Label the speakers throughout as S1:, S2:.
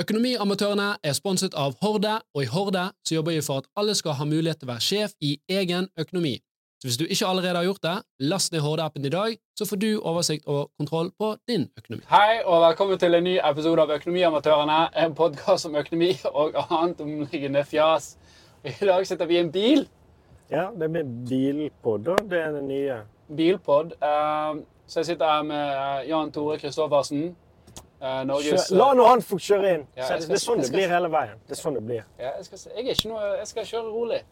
S1: Økonomiamatørene er sponset av Horde, og i Horde så jobber vi for at alle skal ha mulighet til å være sjef i egen økonomi. Så hvis du ikke allerede har gjort det, last ned Horde-appen i dag, så får du oversikt og kontroll på din økonomi.
S2: Hei og velkommen til en ny episode av Økonomiamatørene. En podkast om økonomi og annet omliggende fjas. I dag sitter vi i en bil.
S3: Ja, det blir bilpod, da. Det er det nye.
S2: Bilpod. eh, Så jeg sitter her med eh, Jan Tore Christoffersen. eh, Norges
S3: Kjør, la nå han få kjøre inn.
S2: Ja,
S3: Så
S2: jeg skal-
S3: det er
S2: jeg
S3: sånn det
S2: skal-
S3: blir hele veien. Det er sånn det blir.
S2: Ja, jeg, skal, s- jeg, er ikke noe, jeg skal kjøre rolig.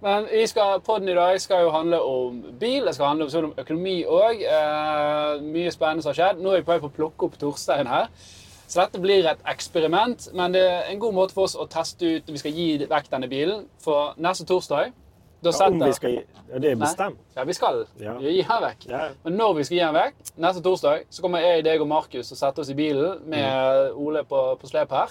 S2: Men vi skal, podden i dag skal jo handle om bil, det skal handle om, sånn om økonomi òg. Eh, mye spennende som har skjedd. Nå er vi på vei på å plukke opp Torstein her. Så dette blir et eksperiment, men det er en god måte for oss å teste ut Vi skal gi vekk denne bilen for neste torsdag. Da
S3: Ja, om
S2: setter
S3: vi skal gi ja, Det er bestemt.
S2: Ja, vi skal
S3: Ja.
S2: gi den vekk.
S3: Ja.
S2: Men når vi skal gi den vekk, neste torsdag, så kommer jeg, deg og Markus og setter oss i bilen med Ole på, på slep her.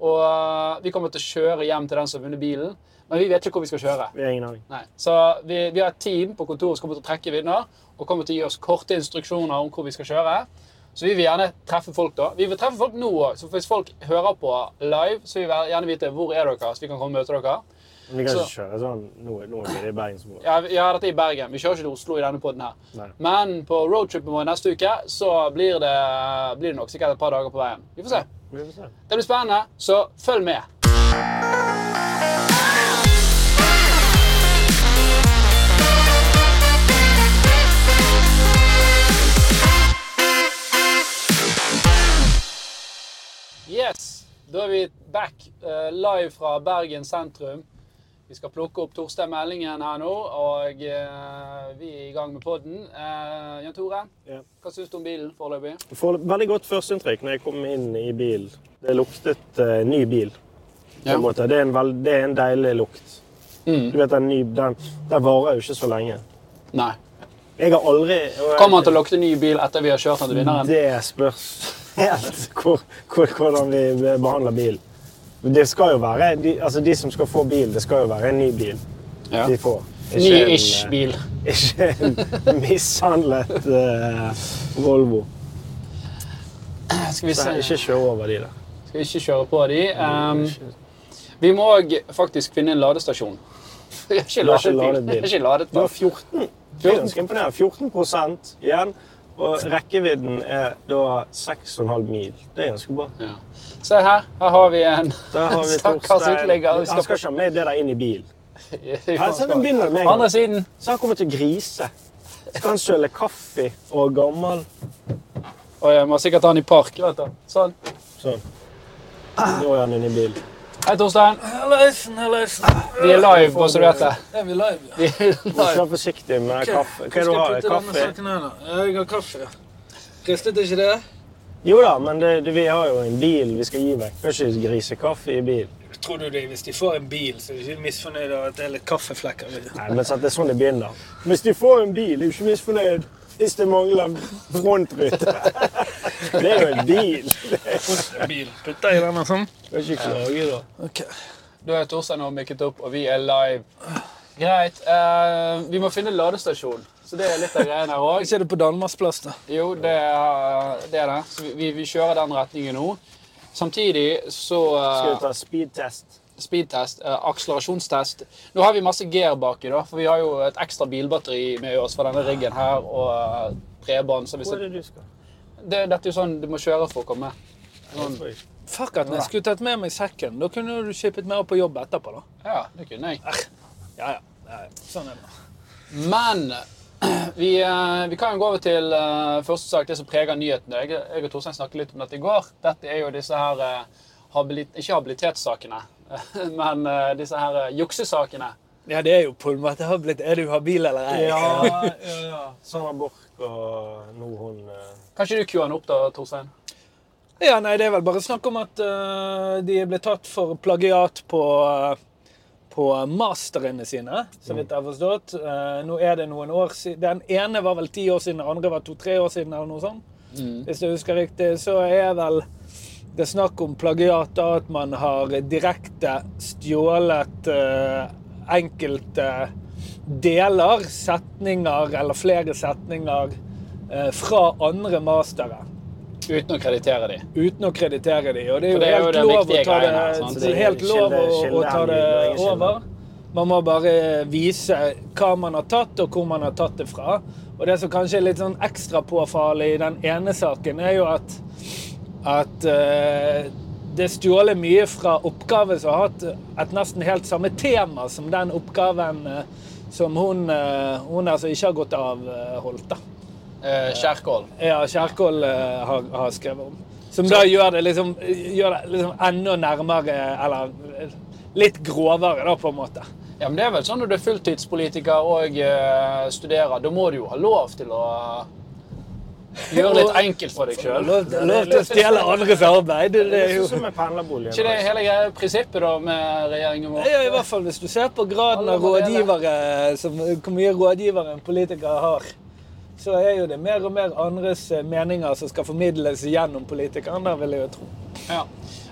S2: Og eh, vi kommer til å kjøre hjem til den som har vunnet bilen, men vi vet ikke hvor vi skal kjøre.
S3: Vi har ingen aning.
S2: Nei. Så vi, vi har et team på kontoret som kommer til å trekke vinner, og kommer til å gi oss korte instruksjoner om hvor vi skal kjøre. Så vi vil gjerne treffe folk da. Vi vil treffe folk nå òg, så hvis folk hører på live, så vil vi gjerne vite hvor er dere, så vi kan komme og møte dere.
S3: Men Vi kan
S2: Så-
S3: ikke kjøre sånn Nå, nå er det i Bergensområdet.
S2: Ja, vi- ja, dette er i Bergen. Vi kjører ikke til Oslo i denne podden her.
S3: Nei.
S2: Men på roadtripen vår neste uke så blir det, blir det nok sikkert et par dager på veien. Vi får se.
S3: Vi får se.
S2: Det blir spennende, så følg med. Yes, da er vi back eh, live fra Bergen sentrum. Vi skal plukke opp Torstein Meldingen her nå, og eh, vi er i gang med podden. Eh, Jan Tore,
S3: Ja.
S2: hva syns du om bilen foreløpig?
S3: Jeg får veldig godt førsteinntrykk når jeg kom inn i bilen. Det luktet eh, ny bil. på en måte. Det, er en veld, det er en deilig lukt.
S2: Mm.
S3: Du vet, den, ny, den, den varer jo ikke så lenge.
S2: Nei.
S3: Jeg har aldri
S2: Kommer han til å lukte ny bil etter vi har kjørt den til vinneren?
S3: Det spørs helt hvor, hvor, hvordan vi behandler bil. Men Det skal jo være, de, altså de som skal få bil, det skal jo være en ny bil
S2: Ja.
S3: de får. Ikke en, eh,
S2: Ny-ish bil.
S3: Ikke en mishandlet eh, Volvo.
S2: Skal vi
S3: Så
S2: se.
S3: ikke kjør over de der.
S2: Skal ikke kjøre på de. Ehm, vi må òg faktisk finne en ladestasjon. Jeg har ikke
S3: Du har ikke
S2: ladet bil.
S3: ladet bil.
S2: Jeg har ikke ladet
S3: Du har
S2: bil.
S3: 14. Det er ganske imponerende. 14 igjen. Og rekkevidden er da 6,5 mil. Det er ganske bra.
S2: Ja. Se her. Her har vi en
S3: Der har vi
S2: stakkars
S3: Torstein.
S2: uteligger.
S3: Han skal ikke ha med det der inn i bil. Her ser vi
S2: På
S3: begynner med en gang.
S2: andre siden.
S3: Så han kommer til å grise. Skal han søle kaffe og gammel
S2: Å, jeg må sikkert ha den i park. Vet du. Sånn.
S3: Sånn. Nå er han inne i bilen.
S2: Hei, Torstein.
S4: Hallaisen, hallaisen.
S2: Vi er live, bare så du vet det.
S4: Er vi live? ja?
S2: Vi er
S3: Må ikke
S2: live.
S3: være forsiktig med
S4: Ok,
S3: kaffe. Hva er
S4: skal
S3: det du
S4: jeg
S3: har?
S4: putte denne
S3: Kaffe?
S4: saken her nå? Ja, Jeg har kaffe. Ristet ikke det?
S3: Jo da, men det, det, vi har jo en bil vi skal gi vekk. Kan ikke grise kaffe i bil.
S4: Tror du det, hvis de får en bil, så er de ikke misfornøyde av at det er litt kaffeflekker i den?
S3: Nei, men så at det er sånn det begynner. Hvis de får en bil, er jo ikke misfornøyd. Hvis det mangler frontrute. Det er jo en bil.
S4: Bil. Putter i denne sånn?
S3: Kan ikke klage, da.
S4: Ok.
S2: Da er Torstein og mikket opp, og vi er live. Greit. eh, vi må finne en ladestasjon. Så det er litt av greien her òg.
S4: Ikke er det på Danmarksplass, da?
S2: Jo, det er det. Er det. Så vi- vi, vi kjører den retningen nå. Samtidig så
S3: Skal vi
S2: uh,
S3: ta speedtest?
S2: Speedtest, eh, akselerasjonstest. Nå har vi masse gear baki, da, for vi har jo et ekstra bilbatteri med oss fra denne riggen her og eh, bredbånd. Så hvis
S3: Hvor
S2: det,
S3: er det du skal?
S2: det, dette er jo sånn du må kjøre for å komme. Sånn.
S4: Fuck at jeg skulle tatt med meg sekken. Da kunne du shippet meg opp på jobb etterpå, da.
S2: Ja, det kunne jeg.
S4: Ja, ja. ja. ja. Sånn er det.
S2: Men vi, eh, vi kan jo gå over til eh, første sak, det som preger nyhetene. Jeg, jeg og Torstein snakket litt om dette i går. Dette er jo disse her eh, habili- Ikke habilitetssakene, men eh, disse her eh, juksesakene.
S4: Ja, det er jo på en måte habilit. Er du habil eller ei?
S3: Ja, ja, ja. Sandra Borch og nå hun eh,
S2: Kanskje du queue den opp, da, Torstein?
S4: Ja, nei, det er vel bare snakk om at eh, de ble tatt for plagiat på, eh, på masterene sine, så vidt jeg har forstått. Eh, nå er det noen år siden Den ene var vel ti år siden, den andre var to-tre år siden, eller noe sånt. Hvis jeg husker riktig, så er vel det snakk om plagiat da at man har direkte stjålet eh, enkelte deler, setninger eller flere setninger, eh, fra andre mastere.
S2: Uten å kreditere de.
S4: uten å kreditere dem. Og det er
S2: For
S4: jo
S2: det er jo
S4: helt
S2: den
S4: lov, å
S2: viktige
S4: ta det,
S2: greien her, sant?
S4: det er helt lov å,
S3: Skille- skille
S4: å ta det
S3: angivende og ingen
S4: over. Man må bare vise hva man har tatt, og hvor man har tatt det fra. Og det som kanskje er litt sånn ekstra påfarlig i den ene saken, er jo at, at eh, det er stjålet mye fra oppgaven som har hatt et nesten helt samme tema som den oppgaven eh, som hun, eh, hun altså ikke har gått av, eh, holdt. da
S2: Eh, Kjerkol.
S4: ja, Kjerkol eh, har, har skrevet om. Som da gjør det liksom, gjør det liksom enda nærmere, eller eh, litt grovere, da, på en måte.
S2: Ja, men det er vel sånn når du er fulltidspolitiker og eh, studerer, da må du jo ha lov til å gjøre litt enkelt for deg sjøl.
S4: Lov, lov til å stjele andres arbeid. Det
S3: Det
S4: er
S3: er
S4: jo
S3: sånn som med pendlerboligen.
S2: ikke det hele greia prinsippet da med regjeringen
S4: ja, I
S2: vår?
S4: hvert fall hvis du ser på graden av
S2: Allerede.
S4: rådgivere, eh, som, hvor mye rådgivere en politiker har, så er jo det mer og mer andres eh, meninger som skal formidles gjennom politikeren. Der vil jeg jo tro.
S2: Ja.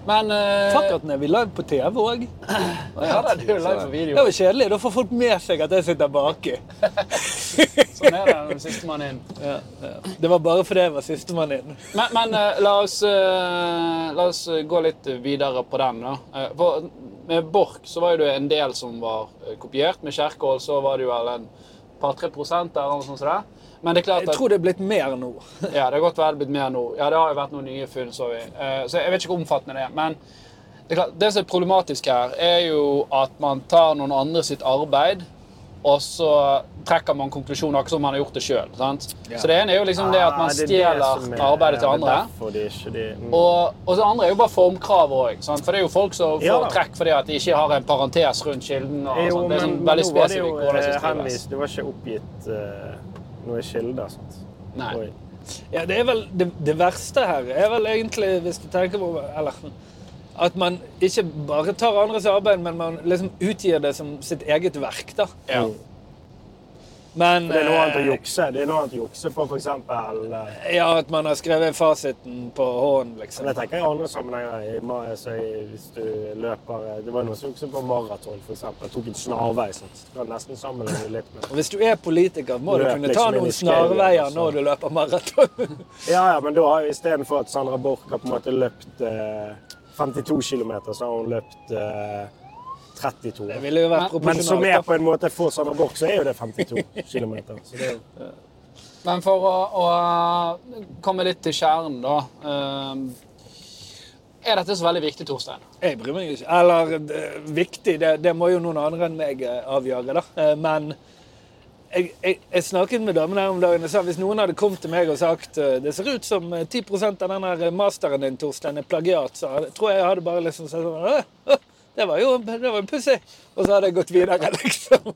S2: Men eh,
S4: Fuck at den er vi live på TV òg.
S2: ja, da, du er live på
S4: Det
S2: video.
S4: er jo kjedelig. Da får folk med seg at jeg sitter baki.
S2: Sånn er det når du er sistemann inn.
S4: Ja, ja. Det var bare fordi jeg var sistemann inn.
S2: Men, men eh, la, oss, eh, la oss eh, gå litt videre på den. da. Eh, for med Borch så var jo det en del som var eh, kopiert. Med Kjerkol så var det jo vel en par-tre prosent der. eller noe sånt som det. Men det er klart
S4: Jeg
S2: at
S4: tror det er blitt mer nå.
S2: ja, det har godt vel blitt mer nå. Ja, det har jo vært noen nye funn, så vi. Eh, så jeg vet ikke hvor omfattende det er. Men det, er klart, det som er problematisk her, er jo at man tar noen andre sitt arbeid, og så trekker man konklusjoner akkurat som man har gjort det sjøl. Så det ene er jo liksom det
S3: Ah,
S2: at man stjeler arbeidet til andre.
S3: Derfor de ikke de, mm.
S2: Og, og det andre er jo bare formkrav òg. For det er jo folk som får
S3: Ja da.
S2: trekk fordi at de ikke har en parentes rundt kilden. og
S3: Jo,
S2: sånt. Det er sånn
S3: men
S2: veldig
S3: nå var det jo
S2: spesifikt hvordan det
S3: eh,
S2: skal skrives.
S3: henvist. Det var ikke oppgitt eh, noe kilde. Sant?
S2: Nei.
S3: Oi.
S4: Ja, det, er vel, det, det verste her er vel egentlig, hvis du tenker på Eller at man ikke bare tar andres arbeid, men man liksom utgir det som sitt eget verk. da.
S2: Ja.
S4: Men
S3: Det er noe annet å
S4: eh,
S3: jukse. Det er noe annet å jukse på, for eksempel eh,
S4: ja, at man har skrevet fasiten på hånden,
S3: men
S4: liksom.
S3: jeg tenker i andre sammenhenger, i ma- altså, i- hvis du løper eh, Det var noen som jukset på maraton, f.eks. Tok en snarvei. Sant? Du kan nesten sammenligne det litt med
S4: Og hvis du er politiker, må du
S3: Løp
S4: kunne ta
S3: liksom inn i
S4: noen
S3: skauen,
S4: snarveier
S3: altså.
S4: når du løper maraton.
S3: Ja, ja, men da har jo istedenfor at Sandra Borch har på en måte løpt eh, 52 km, så har hun løpt eh, 32.
S4: Det ville jo vært
S3: Men som er
S4: proporsjonalt.
S3: på en måte for Sandra Borch, så er jo det 52 km. Så det er jo
S2: Men for å, å eh, komme litt til kjernen, da. eh, Er dette så veldig viktig, Torstein?
S4: da. Jeg bryr meg ikke. Eller eh, viktig, det, det må jo noen andre enn meg eh, avgjøre, da. Eh, Men jeg, jeg, jeg snakket med damen her om dagen og sa hvis noen hadde kommet til meg og sagt eh, det ser ut som eh, 10 av den her masteren din Torstein, er plagiat, så hadde, tror jeg jeg hadde bare liksom sagt sånn «Åh, åh, Det var jo det var jo pussig. Og så hadde jeg gått videre, liksom.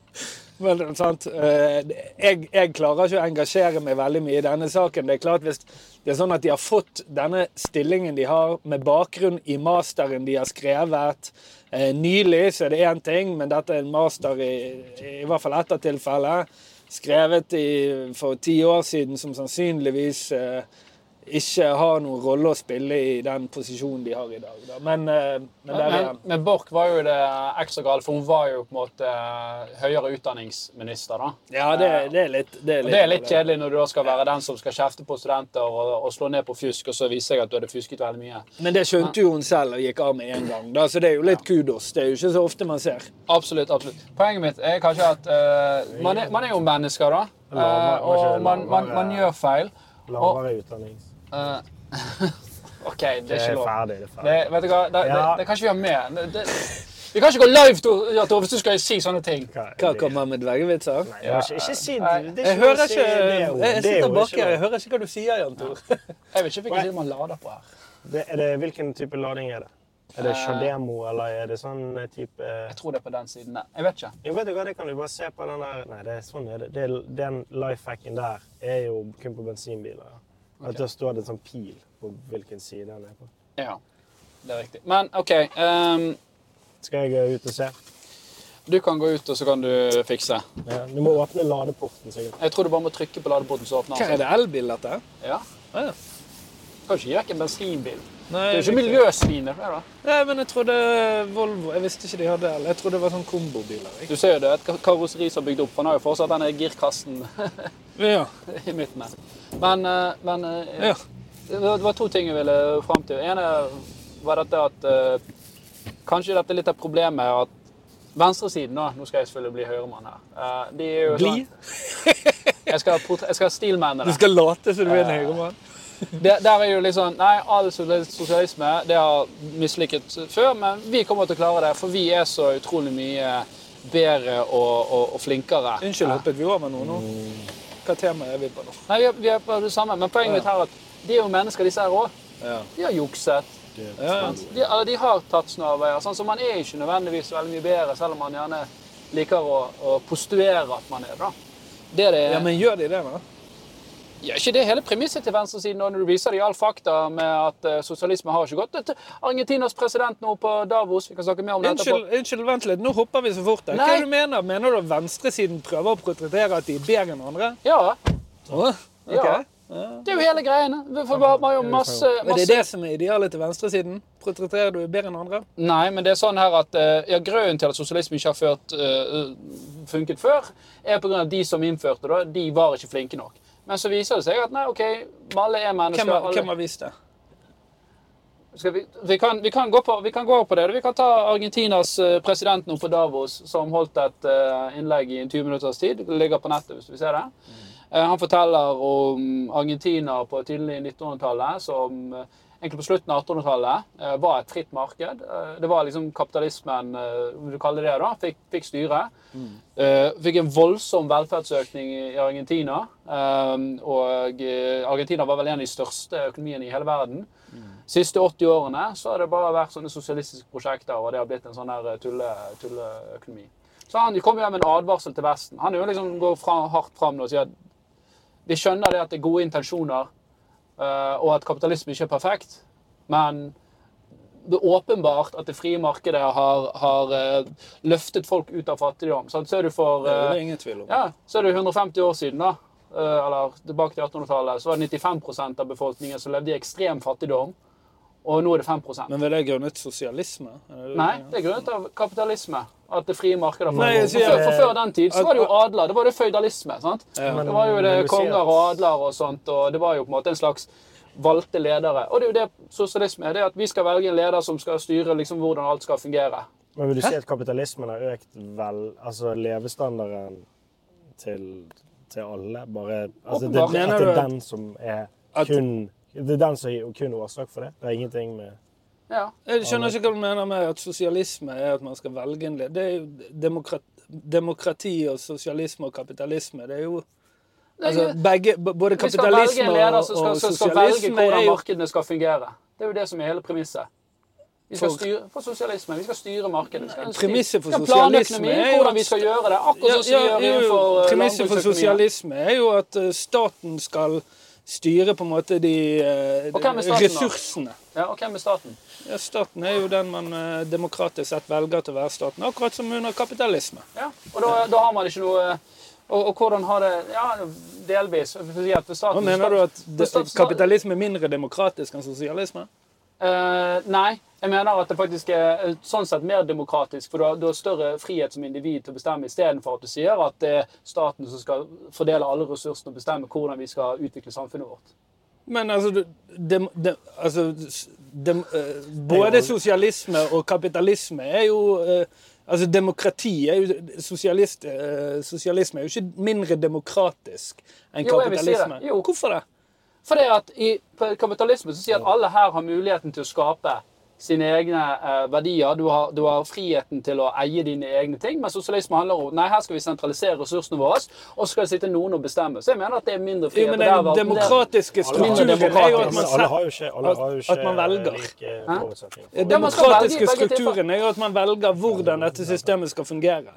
S4: Men sant, eh, jeg, jeg klarer ikke å engasjere meg veldig mye i denne saken. Det er klart Hvis det er sånn at de har fått denne stillingen de har, med bakgrunn i masteren de har skrevet eh, nylig, så er det én ting, men dette er en master i, i hvert fall ett av tilfellene skrevet i, for ti år siden, som sannsynligvis eh, ikke har noen rolle å spille i den posisjonen de har i dag. Da. Men, eh, men der er
S2: Men, men Borch var jo det ekstra galt, for hun var jo på en måte eh, høyere utdanningsminister. da.
S4: Ja, det, det er litt det er
S2: Og Det er litt kjedelig når du da skal være den som skal kjefte på studenter og, og slå ned på fusk, og så viser jeg at du hadde fusket veldig mye.
S4: Men det skjønte jo hun selv og gikk av med en gang, da, så det er jo litt kudos. Det er jo ikke så ofte man ser.
S2: Absolutt. absolutt. Poenget mitt er kanskje at eh, man, er, man er jo mennesker, da.
S3: Lavere,
S2: Eh,
S3: kanskje
S2: og man, man,
S3: lavere-
S2: man gjør feil. Og,
S3: lavere utdanning.
S2: eh, OK, det
S3: Det
S2: er ikke
S3: er
S2: lov.
S3: ferdig. det er
S2: Det,
S3: ferdig.
S2: vet du hva, det, det,
S3: Ja.
S2: det kan ikke vi ha med. Det, det, vi kan ikke gå live, Tor, ja, Tor, hvis du skal si sånne ting.
S4: Hva kommer med dvergevitser?
S3: Nei, det var ikke, ikke si det.
S2: Nei,
S3: det er
S4: Jeg
S3: ikke lov
S4: hører
S3: å si
S4: ikke
S3: det
S4: Jeg,
S3: ordet. Det er
S4: sitter
S3: jo
S4: baki
S3: ikke
S4: her, jeg
S3: lov.
S4: hører ikke hva du sier, Jan Tor.
S2: Jeg vet ikke hvilken side man lader på her.
S3: Det, er det, hvilken type lading er det? Er
S4: Eh.
S3: det Shademo, eller er det sånn type eh,
S2: Jeg tror det er på den siden der. Jeg vet ikke.
S3: Jo, vet du hva, det kan du bare se på den der Nei, det er sånn er det. det er, den lifehacken der er jo kun på bensinbiler. Ja. At Da står det en sånn pil på hvilken side den er på.
S2: Ja, det er riktig. Men OK. ehm,
S3: Skal jeg eh, ut og se?
S2: du kan gå ut, og så kan du fikse.
S3: Ja, du må åpne ladeporten. sikkert.
S2: Jeg tror du bare må trykke på ladeporten, så åpner
S4: Hva
S2: den
S4: er
S2: seg.
S4: det, elbil, dette?
S2: Ja.
S4: Ah, ja.
S2: Kan ikke gi vekk en bensinbil.
S4: Nei,
S2: Det er jo ikke
S4: riktig.
S2: miljøsvin. det er det da.
S4: Nei, men jeg trodde Volvo Jeg visste ikke de hadde el. Jeg trodde det var sånn kombobiler. jeg.
S2: Du ser jo det, et karosseri som er bygd opp. for Han har jo fortsatt denne girkassen
S4: Ja,
S2: i midten her. Men, eh, men eh,
S4: ja.
S2: Det var det var to ting jeg ville fram til. Den ene var dette at eh, Kanskje dette er litt av problemet at venstresiden da, Nå skal jeg selvfølgelig bli høyremann her. eh, de er jo
S4: Bli?
S2: Sånn, jeg skal, portre- jeg skal stilmenne
S4: Du
S2: det.
S4: skal late som du er en høyremann.
S2: Der, der er jo liksom Nei, all sosialisme det har mislykket før, men vi kommer til å klare det, for vi er så utrolig mye bedre og, og, og flinkere. Eh,
S4: Unnskyld, hoppet vi over noe nå? Hva tema er vi på nå?
S2: Nei, vi er, vi er på det samme, men poenget mitt her er at de er jo mennesker, disse her òg.
S4: Ja.
S2: De har jukset.
S4: Ja.
S2: De, eller de har tatt snarveier. Sånn, så man er ikke nødvendigvis veldig mye bedre, selv om man gjerne liker å, å postuere at man er det. da. Det er det,
S4: ja, men gjør de det, da?
S2: Ja, ikke det hele premisset til venstresiden da, når du viser dem all fakta med at eh, sosialisme har ikke gått. Dette- Argentinas president nå på Davos, vi kan snakke mer om det etterpå.
S4: Unnskyld, unnskyld, vent litt. Nå hopper vi så fort. her. Hva
S2: Nei.
S4: er det du mener Mener du at venstresiden prøver å portrettere at de er bedre enn andre?
S2: Ja,
S4: Åh, ok.
S2: Ja. det er jo hele greiene. For vi har jo masse,
S4: Er det
S2: masse
S4: det som er idealet til venstresiden? Portretterer du bedre enn andre?
S2: Nei, men det er sånn her at eh, ja, grunnen til at sosialisme ikke har ført, eh, funket før, er pga. at de som innførte det, de var ikke flinke nok. Men så viser det seg at nei, OK, alle er mennesker.
S4: Hvem har, hvem
S2: alle,
S4: har vist det?
S2: skal vi, vi, kan, vi, kan gå på, vi kan gå på det. Vi kan ta Argentinas eh, president nå på Davos, som holdt et eh, innlegg i en 20 minutters tid. Det ligger på nettet, hvis du vil se det. Eh, han forteller om Argentina på tidlig 1900-tallet, som eh, egentlig på slutten av 1800-tallet eh, var et fritt marked. Eh, det var liksom kapitalismen, eh, om du kaller det det, da, fikk, fikk styre. Eh, fikk en voldsom velferdsøkning i i Argentina. eh, og eh, Argentina var vel en av de største økonomiene i hele verden. siste 80 årene så har det bare vært sånne sosialistiske prosjekter, og det har blitt en sånn her eh, tulle, tulleøkonomi. Så han kom jo med en advarsel til Vesten. Han er jo liksom går fra, hardt fram nå og sier at vi skjønner det at det er gode intensjoner, eh, og at kapitalisme ikke er perfekt, men det er åpenbart at det frie markedet har, har eh, løftet folk ut av fattigdom. Sant? Så er du for
S4: Det er
S2: eh,
S4: det ingen tvil om.
S2: ja, så er det 150 år siden, da. eh, Eller tilbake til 1800-tallet. Så var det 95 av befolkningen som levde i ekstrem fattigdom. Og nå er det 5
S4: Men vel, det er grunnet sosialisme? Er det det du
S2: Nei,
S4: mener?
S2: det er grunnet av kapitalisme. At det frie markedet har
S4: Nei, jeg
S2: fått for,
S4: sier-
S2: før- for før den tid så var det jo adler. Det var det føydalisme. sant?
S4: Ja.
S2: Det var jo det
S3: Men du sier
S2: konger
S3: at-
S2: og adler og sånt, og det var jo på en måte en slags valgte ledere. Og det er jo det sosialisme er. Det er at vi skal velge en leder som skal styre liksom hvordan alt skal fungere.
S3: Men vil du si at kapitalismen har økt vel, altså levestandarden til, til alle? Bare, altså, det,
S2: Åpenbart.
S3: at
S4: Mener
S3: det
S4: du
S3: er
S4: at-
S3: den som er
S4: At-
S3: kun Det er den som er kun årsak for det? Det er ingenting med
S2: Ja.
S4: Jeg skjønner ikke hva du mener med at sosialisme er at man skal velge en leder. Det er jo demokrati, demokrati og sosialisme og kapitalisme. Det er jo altså, begge, b- både
S2: Vi skal velge
S4: kapitalisme
S2: en
S4: og,
S2: leder
S4: og
S2: som skal, som skal velge
S4: sosialisme er
S2: hvordan
S4: jo
S2: markedene skal fungere. Det er jo det som er hele premisset. Vi skal
S4: For-
S2: styre for sosialisme. Vi skal styre markedet. Vi skal styre-
S4: Premisset for
S2: vi skal planøkonomi,
S4: sosialisme er jo
S2: Hvordan
S4: at-
S2: vi skal gjøre det. Akkurat som
S4: Ja,
S2: vi gjør
S4: ja, jo, jo.
S2: innenfor eh,
S4: Premisset for
S2: landbruksøkonomien.
S4: sosialisme er jo at eh, staten skal styre på en måte de eh,
S2: Og hvem er staten da?
S4: ressursene.
S2: Ja, og hvem er staten?
S4: Ja, staten er jo den man eh, demokratisk sett velger til å være staten, akkurat som under kapitalisme.
S2: Ja. Og da, da har man ikke noe og, og hvordan har det Ja, delvis. Jeg vil si at for
S4: Hva
S2: staten,
S4: mener du at de,
S2: for staten-
S4: kapitalisme er mindre demokratisk enn sosialisme?
S2: Eh, nei, jeg mener at det faktisk er eh, sånn sett mer demokratisk, for du har, du har større frihet som individ til å bestemme, istedenfor at du sier at det er staten som skal fordele alle ressursene og bestemme hvordan vi skal utvikle samfunnet vårt.
S4: Men altså, du- dem, dem, altså s- dem, eh, Både sosialisme og kapitalisme er jo eh, Altså, demokrati er jo sosialist, eh, Sosialisme er jo ikke mindre demokratisk enn
S2: Jo, jeg vil si det.
S4: kapitalisme.
S2: Jo.
S4: Hvorfor det?
S2: For det at i på kapitalismen så sier at alle her har muligheten til å skape sine egne eh, verdier. Du har, du har friheten til å eie dine egne ting. Men sosialisme handler om nei, her skal vi sentralisere ressursene våre, og så skal det sitte noen og bestemme. Så jeg mener at det er mindre
S4: Jo,
S2: frihet.
S4: men
S2: og der
S4: den
S2: var- der-
S4: demokratiske
S3: har-
S4: strukturen er jo at
S3: Men alle
S4: man
S3: har
S4: selv
S3: jo ikke, alle har jo ikke
S4: at man velger.
S3: like forutsetninger.
S4: Den
S2: Ja, man skal velge-
S4: demokratiske
S2: velge tilfelle.
S4: strukturen er jo at man velger hvordan dette systemet skal fungere.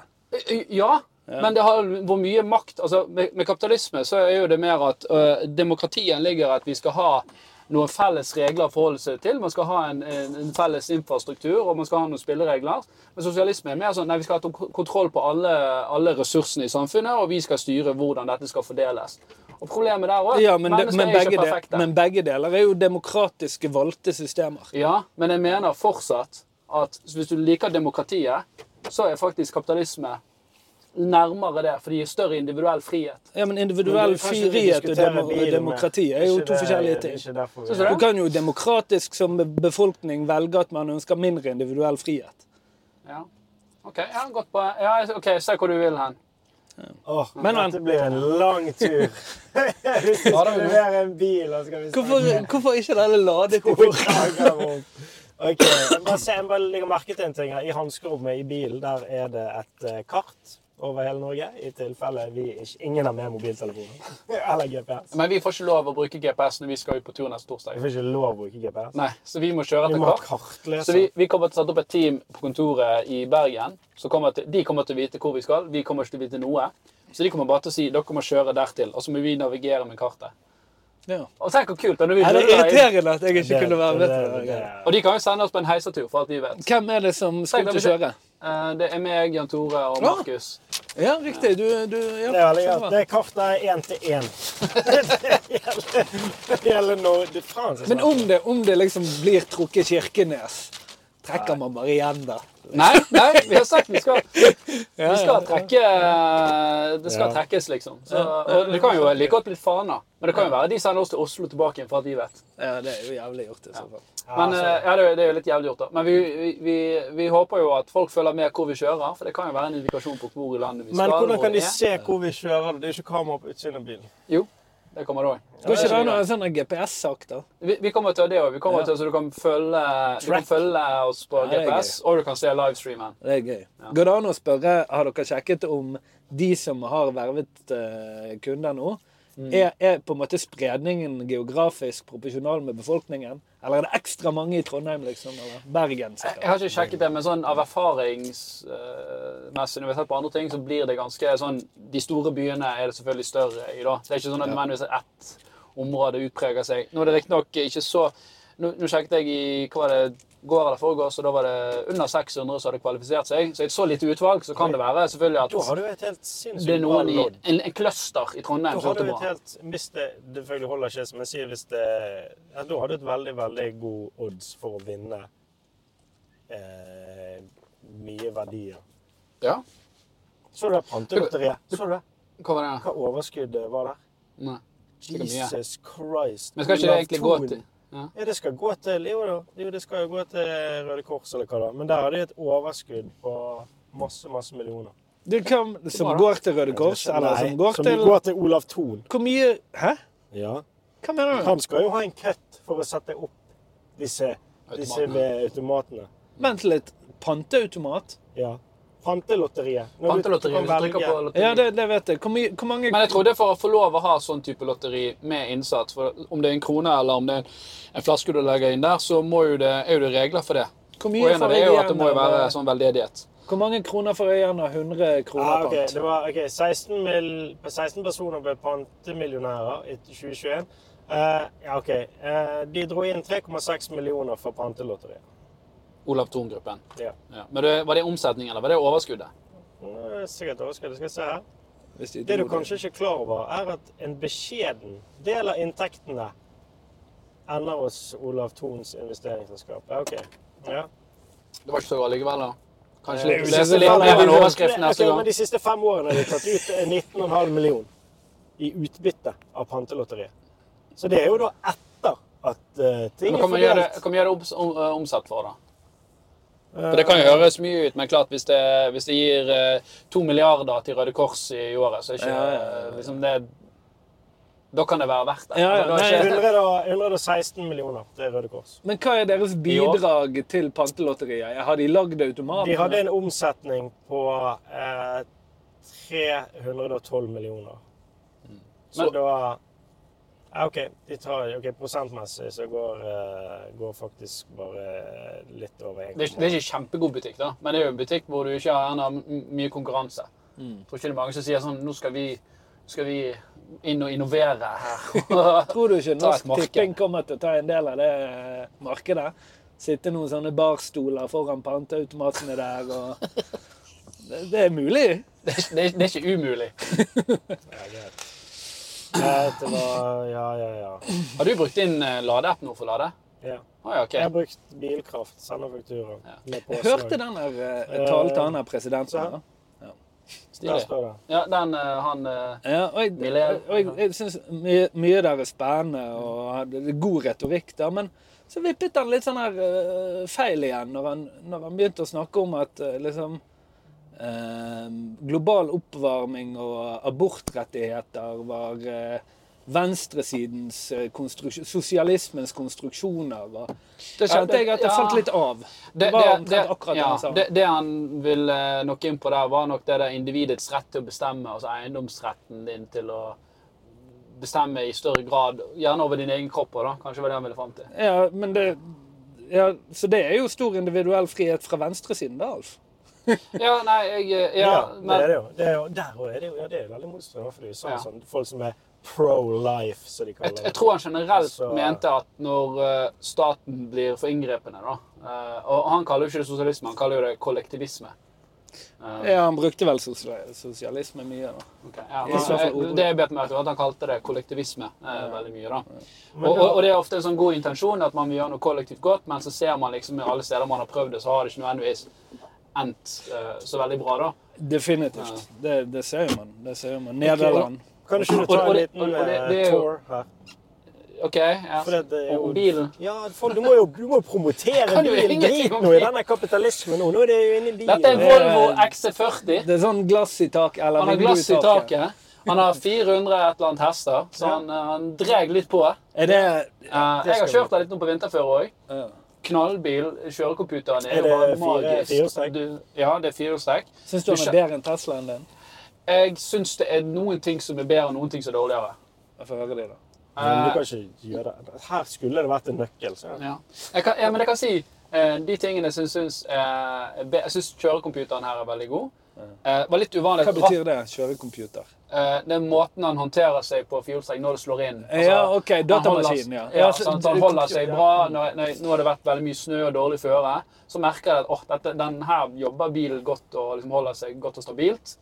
S2: Eh, Ja, men det har hvor mye makt altså Med, med kapitalisme så er jo det mer at ø, demokratien ligger at vi skal ha noen felles regler å forholde seg til. Man skal ha en, en, en felles infrastruktur og man skal ha noen spilleregler. Men sosialisme er mer sånn nei, vi skal ha to- kontroll på alle, alle ressursene i samfunnet, og vi skal styre hvordan dette skal fordeles. Og problemet der òg
S4: Ja, men, de-
S2: mennesker
S4: men,
S2: er
S4: begge
S2: ikke
S4: de,
S2: perfekte.
S4: men begge deler er jo demokratiske valgte systemer.
S2: Ja, men jeg mener fortsatt at hvis du liker demokratiet, så er faktisk kapitalisme nærmere det, for de gir større individuell frihet.
S4: Ja, men
S3: Men
S4: individuell
S3: du kan ikke
S4: frihet og
S3: diskutere
S4: demo- og
S3: bilen,
S4: demokrati er jo
S3: ikke
S4: to
S3: det-
S4: forskjellige
S3: det er
S4: ting.
S3: ikke derfor vi-
S2: Synes du det?
S4: Du kan jo demokratisk som befolkning velge at man ønsker mindre individuell frihet.
S2: Ja. OK, ja, godt på. Ja, jeg- ok, jeg ser hvor du vil hen.
S3: Åh,
S4: Men, men.
S3: Dette blir en lang tur. Hvis vi
S2: Ja, det
S3: skal
S2: blir-
S3: levere en bil, og så skal vi snakke
S4: Hvorfor, hvorfor ikke denne ladet på
S3: to dager om Ok, jeg bare, se, jeg bare legger merke til en ting her. I hanskerommet i bilen der er det et eh, kart over hele Norge, i tilfelle vi ikke, ingen har med mobiltelefoner eller GPS.
S2: Men vi får ikke lov å bruke GPS når vi skal ut på tur neste torsdag.
S3: Vi får ikke lov å bruke GPS.
S2: Nei, så vi må kjøre
S3: Vi
S2: etter
S3: må
S2: kart. Så
S3: kartlese.
S2: vi, vi kommer til å sette opp et team på kontoret i Bergen. Så kommer til, de kommer til å vite hvor vi skal. Vi kommer ikke til å vite noe. Så de kommer bare til å si dere må kjøre dertil, og så må vi navigere med kartet.
S4: Ja.
S2: Og tenk hvor kult da, når vi
S4: Er det
S2: ruller inn.
S4: irriterende at jeg ikke kunne være med til det? her?
S2: Og de kan jo sende oss på en heisatur, for alt vi vet.
S4: Hvem er det som skal
S2: Tenk,
S4: ut og
S2: da, men
S4: kjøre?
S2: Eh, Det er meg, Jan Tore og
S4: Ah.
S2: Markus.
S4: Ja, riktig. Du, du ja.
S3: Det er veldig
S4: så
S3: godt.
S4: bra.
S3: Det kartet er én til én. Det gjelder- Det gjelder Norge. Det er faen som
S4: Men
S3: snakker.
S4: om det, om det liksom blir trukket Kirkenes, trekker man bare igjen da?
S2: Nei, nei, vi har sagt vi skal, vi
S4: ja.
S2: skal trekke eh, Det skal
S3: Ja.
S2: trekkes, liksom. Så, og det kan jo like godt bli Fana. Men det kan jo være de sender oss til Oslo tilbake igjen, for alt vi vet.
S4: Ja, det er jo jævlig gjort i så fall.
S3: Ja,
S2: Men,
S3: altså,
S2: eh, ja, det er jo- det er jo litt jævlig gjort, da. Men vi, vi, vi, vi håper jo at folk følger med hvor vi kjører, for det kan jo være en indikasjon på hvor i landet vi skal.
S3: men hvordan
S2: hvor
S3: kan
S2: vi
S3: de
S2: er.
S3: se hvor vi kjører? Det er ikke kamera på utsiden av bilen.
S2: Jo, det kommer det òg.
S4: Går ikke det an å ha en sånn GPS-sak, da?
S2: Vi, vi kommer til det òg.
S4: Ja.
S2: Så du kan følge, du kan
S4: Track.
S2: følge oss på
S4: Ja, det er
S2: GPS, og du kan se livestreamen.
S4: Det er gøy. Går det an å spørre har dere sjekket om de som har vervet eh, kunder nå,
S2: Mm.
S4: er, er på en måte spredningen geografisk proporsjonal med befolkningen? Eller er det ekstra mange i Trondheim, liksom? Eller Bergen,
S2: Jeg jeg
S4: sikkert?
S2: har ikke sjekket det, men sånn av erfaringsmessig, når vi har sett på andre ting, så blir det ganske sånn De store byene er det selvfølgelig større i, da. Det er ikke sånn at nødvendigvis at ett område utpreger seg. Nå er det riktignok ikke så Nå, nå sjekket jeg i hva var det går eller foregårs, og da var det under 600 som hadde kvalifisert seg. Så i et så lite utvalg så kan det være selvfølgelig
S3: Da
S2: at
S3: har du et helt
S2: det er
S3: sinnssykt bra
S2: noen i
S3: lodd.
S2: en, en cluster i Trondheim
S3: Da
S2: som
S3: har du
S2: gjør det
S3: et
S2: bra.
S3: helt Hvis det det selvfølgelig holder ikke, som jeg sier, hvis det ja, Da har du et veldig, veldig god odds for å vinne eh, mye verdier.
S2: Ja,
S3: Så du det pantelotteriet? Så du det?
S2: hva var det?
S3: Hva overskuddet var der?
S2: Nei. Ikke mye.
S3: Jesus Christ.
S2: Men skal ikke det egentlig gå
S3: Lavton.
S2: til ja.
S3: Ja, det skal gå til Jo da, jo, det skal jo gå til Røde Kors eller hva da. Men der har de et overskudd på masse, masse millioner.
S4: Det kan, som
S2: Hva da?
S4: går til Røde Kors, eller
S3: Nei,
S4: som går
S3: som
S4: til
S3: går til Olav Thon.
S4: Hvor mye Hæ?
S3: Ja.
S4: Hva mener du?
S3: Han skal jo ha en cut for å sette opp disse, disse
S2: Automatene.
S3: ved automatene.
S4: Vent litt. Panteautomat?
S3: Ja. Pantelotteriet. Når du- du
S2: Pantelotteriet.
S3: kan
S2: Hvis du trykker
S3: velge-
S2: på lotteri.
S4: Ja, det, det vet jeg. Hvor, mye, hvor mange
S2: Men jeg trodde for å få lov å ha sånn type lotteri med innsats, for om det er en krone eller om det er en flaske du legger inn der, så må jo det, er jo det regler for det.
S4: Hvor
S2: Og
S4: mye
S2: en av
S4: får
S2: det
S4: jeg
S2: er jo at det
S4: igjen
S2: må jo være
S4: av eh,
S2: sånn veldedighet.
S4: Hvor mange kroner får jeg igjen av 100 kroner
S2: Ah,
S3: Ja, ok,
S4: pant?
S3: Det var, ok, 16, mil, 16 personer ble pantemillionærer etter 2021. Eh, ja, ok. Eh, de dro inn 3,6 millioner for pantelotteriet.
S2: Olav Thon-gruppen.
S3: Ja.
S2: Ja. Men det, var det omsetning, eller var det overskuddet?
S3: Nå er det Sikkert overskudd. Skal vi se her.
S4: Hvis de
S3: Det du
S4: dro
S3: kanskje ikke er klar over, er at en beskjeden del av inntektene ender hos Olav Thons investeringsselskap. Ja, ok. Ja.
S2: Det var ikke så galt likevel, da.
S3: Eh,
S2: Kanskje litt,
S3: hvis
S2: lese
S3: det
S2: litt
S3: var-
S2: mer enn
S3: Ok,
S2: overskriften neste
S3: Men
S2: gang.
S3: de siste fem årene har de tatt ut eh, 19,5 millioner i utbytte av pantelotteriet. Så det er jo da etter at eh, ting
S2: Men
S3: er
S2: kan man gjøre det,
S3: fordelt.
S2: kan man gjøre det obs- om, eh, omsatt for, da?
S4: Eh,
S2: For Det kan jo høres mye ut, men klart hvis det, hvis det gir eh, to milliarder til Røde Kors i året, så er ikke
S4: Ja, ja, ja.
S2: eh, liksom det Da kan det være verdt det.
S4: Ja, ja,
S2: da er
S4: nei,
S2: ikke-
S3: 100 og- 116 millioner til Røde Kors.
S4: Men hva er deres
S2: år?
S4: bidrag til pantelotteriet? Har de lagd automater?
S3: De hadde en omsetning på eh, 312 millioner.
S2: Mm.
S3: Så
S2: Men-
S3: da ja, OK, de tar, ok, prosentmessig så går, eh, går faktisk bare eh, litt over
S2: Det er,
S3: 1,8.
S2: ikke- det er ikke kjempegod butikk, da, men det er jo en butikk hvor du ikke har gjerne m- mye konkurranse.
S4: Mm.
S2: Jeg Tror ikke det er mange som sier sånn Nå skal vi, skal vi inn og innovere her.
S4: Tror du ikke
S2: Ta et
S4: Norsk
S2: marked.
S4: Tipping kommer til å ta en del av det eh, markedet? Sitte noen sånne barstoler foran panteautomatene der og det, det er mulig.
S2: det, er, det, er, det er ikke umulig.
S3: Ja, greit. Greit, det var Ja, ja, ja.
S2: Har du brukt din eh, ladeapp nå for å lade?
S3: ja.
S2: Å ja, OK.
S3: Jeg har brukt bilkraft, sender fakturer med
S4: Jeg hørte
S3: påslag.
S4: den der eh, talen til han
S3: Så her.
S4: her presidenten. da.
S3: Der
S2: Stilig.
S3: står det.
S2: Ja, den eh, han eh,
S4: Ja, og jeg, og
S2: Millennium.
S4: jeg, og jeg, jeg syns mye, mye der er spennende og hadde det er god retorikk der, men så vippet han litt sånn her eh, feil igjen når han, når han begynte å snakke om at eh, liksom eh, global oppvarming og abortrettigheter var eh, venstresidens eh, konstruksjon, sosialismens konstruksjoner. Og da kjente jeg at jeg
S2: Ja.
S4: falt litt av. Det
S2: det,
S4: var
S2: det, det,
S4: omtrent akkurat det
S2: ja,
S4: han sa.
S2: det, det han ville nok inn på der, var nok det der individets rett til å bestemme, altså eiendomsretten din til å bestemme i større grad, gjerne over din egen kropp. også, Da. Kanskje var det han ville fram til.
S4: Ja, men det ja, Så det er jo stor individuell frihet fra venstresiden, da, Alf.
S2: Ja, nei, jeg eh, Ja,
S3: Ja, det
S2: men
S3: er det jo. Det er jo der også er det jo ja, det er veldig motstridende. For det er jo sånn,
S2: Ja.
S3: sånn, folk som er pro-life, som de
S2: jeg,
S3: kaller
S2: jeg
S3: det.
S2: tror han generelt
S3: Altså-
S2: mente at når eh, staten blir for inngrepende, da eh, Og han kaller jo ikke det sosialisme, han kaller jo det kollektivisme. Eh,
S4: Ja, han brukte vel sosial- sosialisme mye, da.
S2: ok, ja,
S4: I så fall
S2: men, eh,
S4: ordet.
S2: det jeg bet meg merke i, var at han kalte det kollektivisme eh, veldig mye, da.
S3: Men
S2: Og,
S3: da-
S2: og, og det er ofte en sånn god intensjon at man vil gjøre noe kollektivt godt, men så ser man liksom i alle steder man har prøvd det, så har det ikke nødvendigvis endt eh, så veldig bra, da.
S4: Definitivt. Det, det ser jo man. Det ser jo man. Nederland.
S3: Kan ikke du
S2: Og-
S3: ta
S2: og
S3: en
S2: det-
S3: liten
S2: og- og det-
S3: eh,
S2: det er jo-
S3: tour her?
S2: OK. Ja.
S3: For det- det er
S2: Og
S3: jo-
S2: og bilen.
S3: Ja, folk, du må jo du må jo promotere
S2: Kan jo
S3: bilen.
S2: ingenting
S3: Drit
S2: om
S3: nå i
S2: bil.
S3: denne kapitalismen nå. Nå er det jo inne i bilen.
S2: Dette er en
S4: Det er-
S2: Volvo XC40.
S4: Det er sånn glass i taket. Eller
S2: Han har
S4: vindu
S2: glass i taket. Han har 400 et eller annet hester, så
S3: Ja.
S2: han, eh, han dreg litt på.
S4: Er det
S2: Eh, jeg har
S3: skal
S2: kjørt den litt nå på vinterføre òg.
S4: ja.
S2: Knallbil. Kjørecomputeren
S3: Er
S2: er,
S3: det
S2: jo bare
S3: fire-
S2: magisk.
S3: firehjulstrekk?
S2: Du- Ja, det er firehjulstrekk.
S4: Syns du han er bedre enn Teslaen din?
S2: Jeg syns det er noen ting som er bedre, og noen ting som er dårligere.
S4: Jeg får høre det, da.
S3: Men du kan ikke gjøre det. Her skulle det vært en nøkkel. Så.
S2: Ja. Jeg kan, ja, men jeg kan si eh, de tingene som syns eh, be- Jeg syns kjørecomputeren her er veldig god. Eh, var litt uvanlig.
S4: Hva betyr det? Kjørecomputer?
S2: Eh, den måten han håndterer seg på fjordstrekk når det slår inn. Altså,
S4: Ja, ok,
S2: han
S4: datamaskin,
S2: holder-
S4: ja.
S2: ja
S4: Ja, så-
S2: sant, han holder seg bra. Når, når, nå har det vært veldig mye snø og dårlig føre. Så merker jeg at åh, dette, den her jobber bilen godt og liksom holder seg godt og stabilt.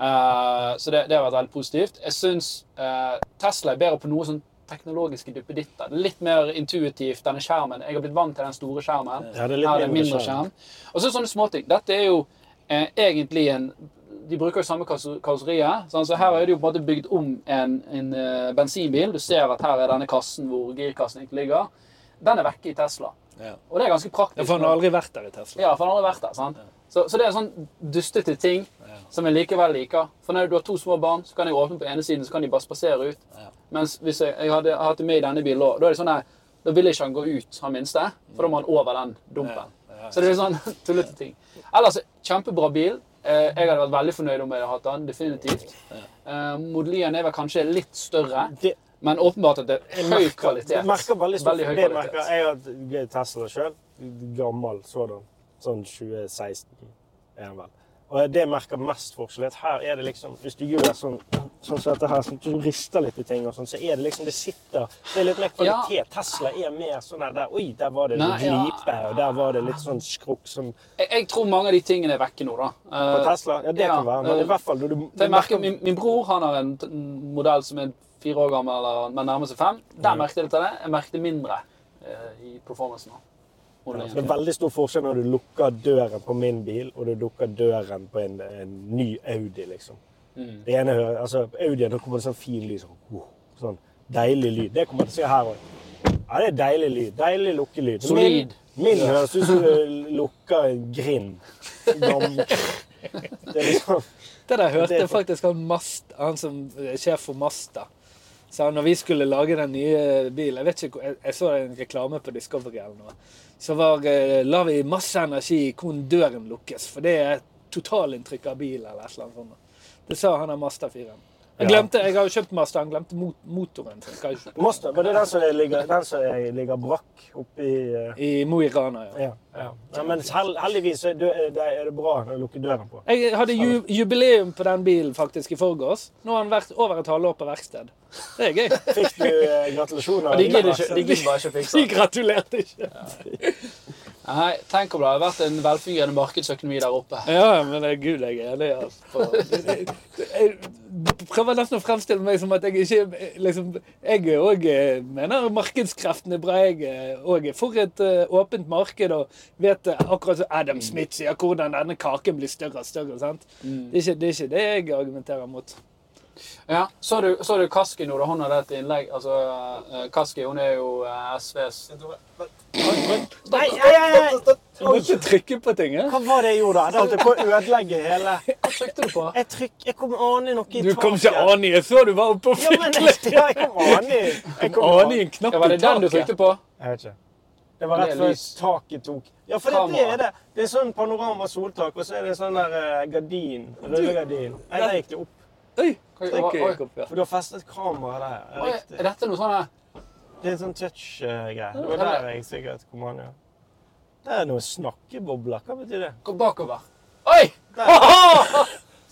S2: Eh, så det, det har vært veldig positivt. Jeg syns eh, Tesla er bedre på noe sånn teknologiske duppeditter. Litt mer intuitivt, denne skjermen. Jeg har blitt vant til den store skjermen.
S3: Ja, det er litt
S2: Her er det
S3: mindre
S2: mindre
S3: skjerm.
S2: skjerm. Og så sånne småting. Dette er jo eh, egentlig en De bruker jo samme karosse- karosseriet. sånn, Så her er det jo på en måte bygd om en, en eh, bensinbil. Du ser at her er denne kassen hvor girkassen egentlig ligger. Den er vekke i Tesla.
S4: Ja.
S2: Og det er ganske praktisk.
S4: Ja, for han har aldri vært der i Tesla.
S2: Ja, for han har aldri vært der. sant? Så, så det er sånn dustete ting som jeg likevel liker. For når du har to små barn, så kan jeg åpne på ene siden, så kan de bare spasere ut. Mens hvis jeg, jeg hadde hatt det med i denne bilen òg, da er det sånn her Da vil ikke han gå ut, han minste, for da må han over den dumpen. Så det er sånn tullete ting. Ellers kjempebra bil. Eh, Jeg hadde vært veldig fornøyd om jeg hadde hatt den, definitivt. Eh, Model Y-en er vel kanskje litt større,
S3: Det,
S2: men åpenbart at det er høy
S3: det
S2: kvalitet.
S3: merker veldig stort.
S2: Veldig høy
S3: det
S2: kvalitet.
S3: merker jeg at jeg er Tesla sjøl. Gammel sådan. Sånn 2016 er den vel. Og det jeg merker mest forskjell. er at Her er det liksom Hvis du gjør sånn sånn som dette her, sånn, at du rister litt i ting, og sånn, så er det liksom Det sitter Det er litt mer kvalitet. Tesla er mer sånn her der, Oi, der var det
S2: Nei,
S3: litt
S2: ja.
S3: glipe, og der var det litt sånn skrukk som
S2: Jeg, jeg tror mange av de tingene er vekke nå, da.
S3: På
S2: Eh,
S3: Tesla? Ja, det
S2: ja,
S3: kan være. Men
S2: eh,
S3: i hvert fall når du,
S2: For
S3: du
S2: jeg merker, min, min bror han har en t- en modell som er fire år gammel, eller, men nærmer seg fem. Der merket jeg litt av det. Jeg merket mindre eh, i performancen. av modellen.
S3: Det er veldig stor forskjell når du lukker døren på min bil, og du lukker døren på en, en ny Audi, liksom. Det ene hører, altså Audien, da kommer det sånn fin lyd, sånn, oh, sånn deilig lyd. Det kommer jeg til å se her òg. Ja, det er deilig lyd. Deilig lukkelyd.
S2: Solid.
S3: Min, min høres ut som du lukker en grind. Gammel. Det er liksom
S4: Det der hørte
S3: Det er
S4: jeg faktisk han, Mast, han som er sjef for Masta. Så når vi skulle lage den nye bilen Jeg vet ikke, hvor- jeg, jeg så en reklame på Discovery eller noe. Så var, eh, la vi masse energi i hvordan døren lukkes, for det er totalinntrykk av bil eller et eller annet sånt. Det sa han av Masta 4. Jeg
S3: Ja.
S4: glemte, jeg har jo kjøpt Masta, han glemte mot, motoren. Så jeg skal ikke-
S3: Mazda, var det den som ligger, den som ligger brakk oppi eh,
S4: I Mo i Rana, ja.
S3: Ja. ja. Nei, men hel, heldigvis er det, er det bra å lukke døren på.
S4: Jeg hadde ju, jubileum på den bilen faktisk i forgårs. Nå har han vært over et halvår på verksted. Det er gøy.
S3: Fikk du eh, gratulasjoner?
S2: Og de gidder ikke- altså, de gidder bare ikke å fikse
S4: De
S2: det.
S4: gratulerte ikke.
S2: Nei, tenk om det hadde vært en velfungerende markedsøkonomi der oppe.
S4: Ja, men det er gud jeg er enig i. Altså. Det- det- det- prøver nesten å fremstille meg som at jeg ikke eh, liksom, Jeg er òg eh, mener markedskreftene er bra. Jeg er òg for et eh, åpent marked og vet eh, akkurat som
S2: Mm.
S4: Adam Smith sier, hvordan denne kaken blir større og større. sant?
S2: Mm.
S4: Det, er ikke, det er ikke det jeg argumenterer mot.
S2: Ja, Så du, så du Kaski når hun hadde et innlegg? Altså, eh, Kaski hun er jo eh, SVs
S3: Nei, nei, nei, nei.
S4: Du må ikke trykke på ting. eh?
S3: Hva var det jeg gjorde da? Det holdt jeg på å ødelegge hele
S2: Hva trykte du på?
S3: Jeg, trykk, jeg kom aning noe i
S4: Du kom ikke
S3: taket.
S4: an i det før du var oppe og
S3: Ja, men
S4: fiklet.
S3: ja, jeg kom aning. Jeg kom
S4: An i en
S2: Ja,
S4: knapp
S2: Var det
S4: i
S2: den du
S4: taket.
S2: trykte på?
S3: Jeg vet ikke. Det var rett
S2: Det er
S3: før
S2: lys.
S3: taket tok. Ja, for det, det
S2: Kamera.
S3: er det. Det er sånn panorama soltak, og så er det sånn der eh, gardin. Rullegardin. Nei, der gikk det opp.
S4: Oi,
S2: Oi,
S4: trykker
S2: oi.
S4: jeg opp, ja.
S3: For du har festet kamera der. Ja,
S2: Oi,
S3: riktig.
S2: er dette noe sånn her?
S3: Det er en sånn touch-greie. Det var der jeg sikkert kom an, ja. Det er noen snakkebobler. Hva betyr det?
S2: Gå bakover. Oi!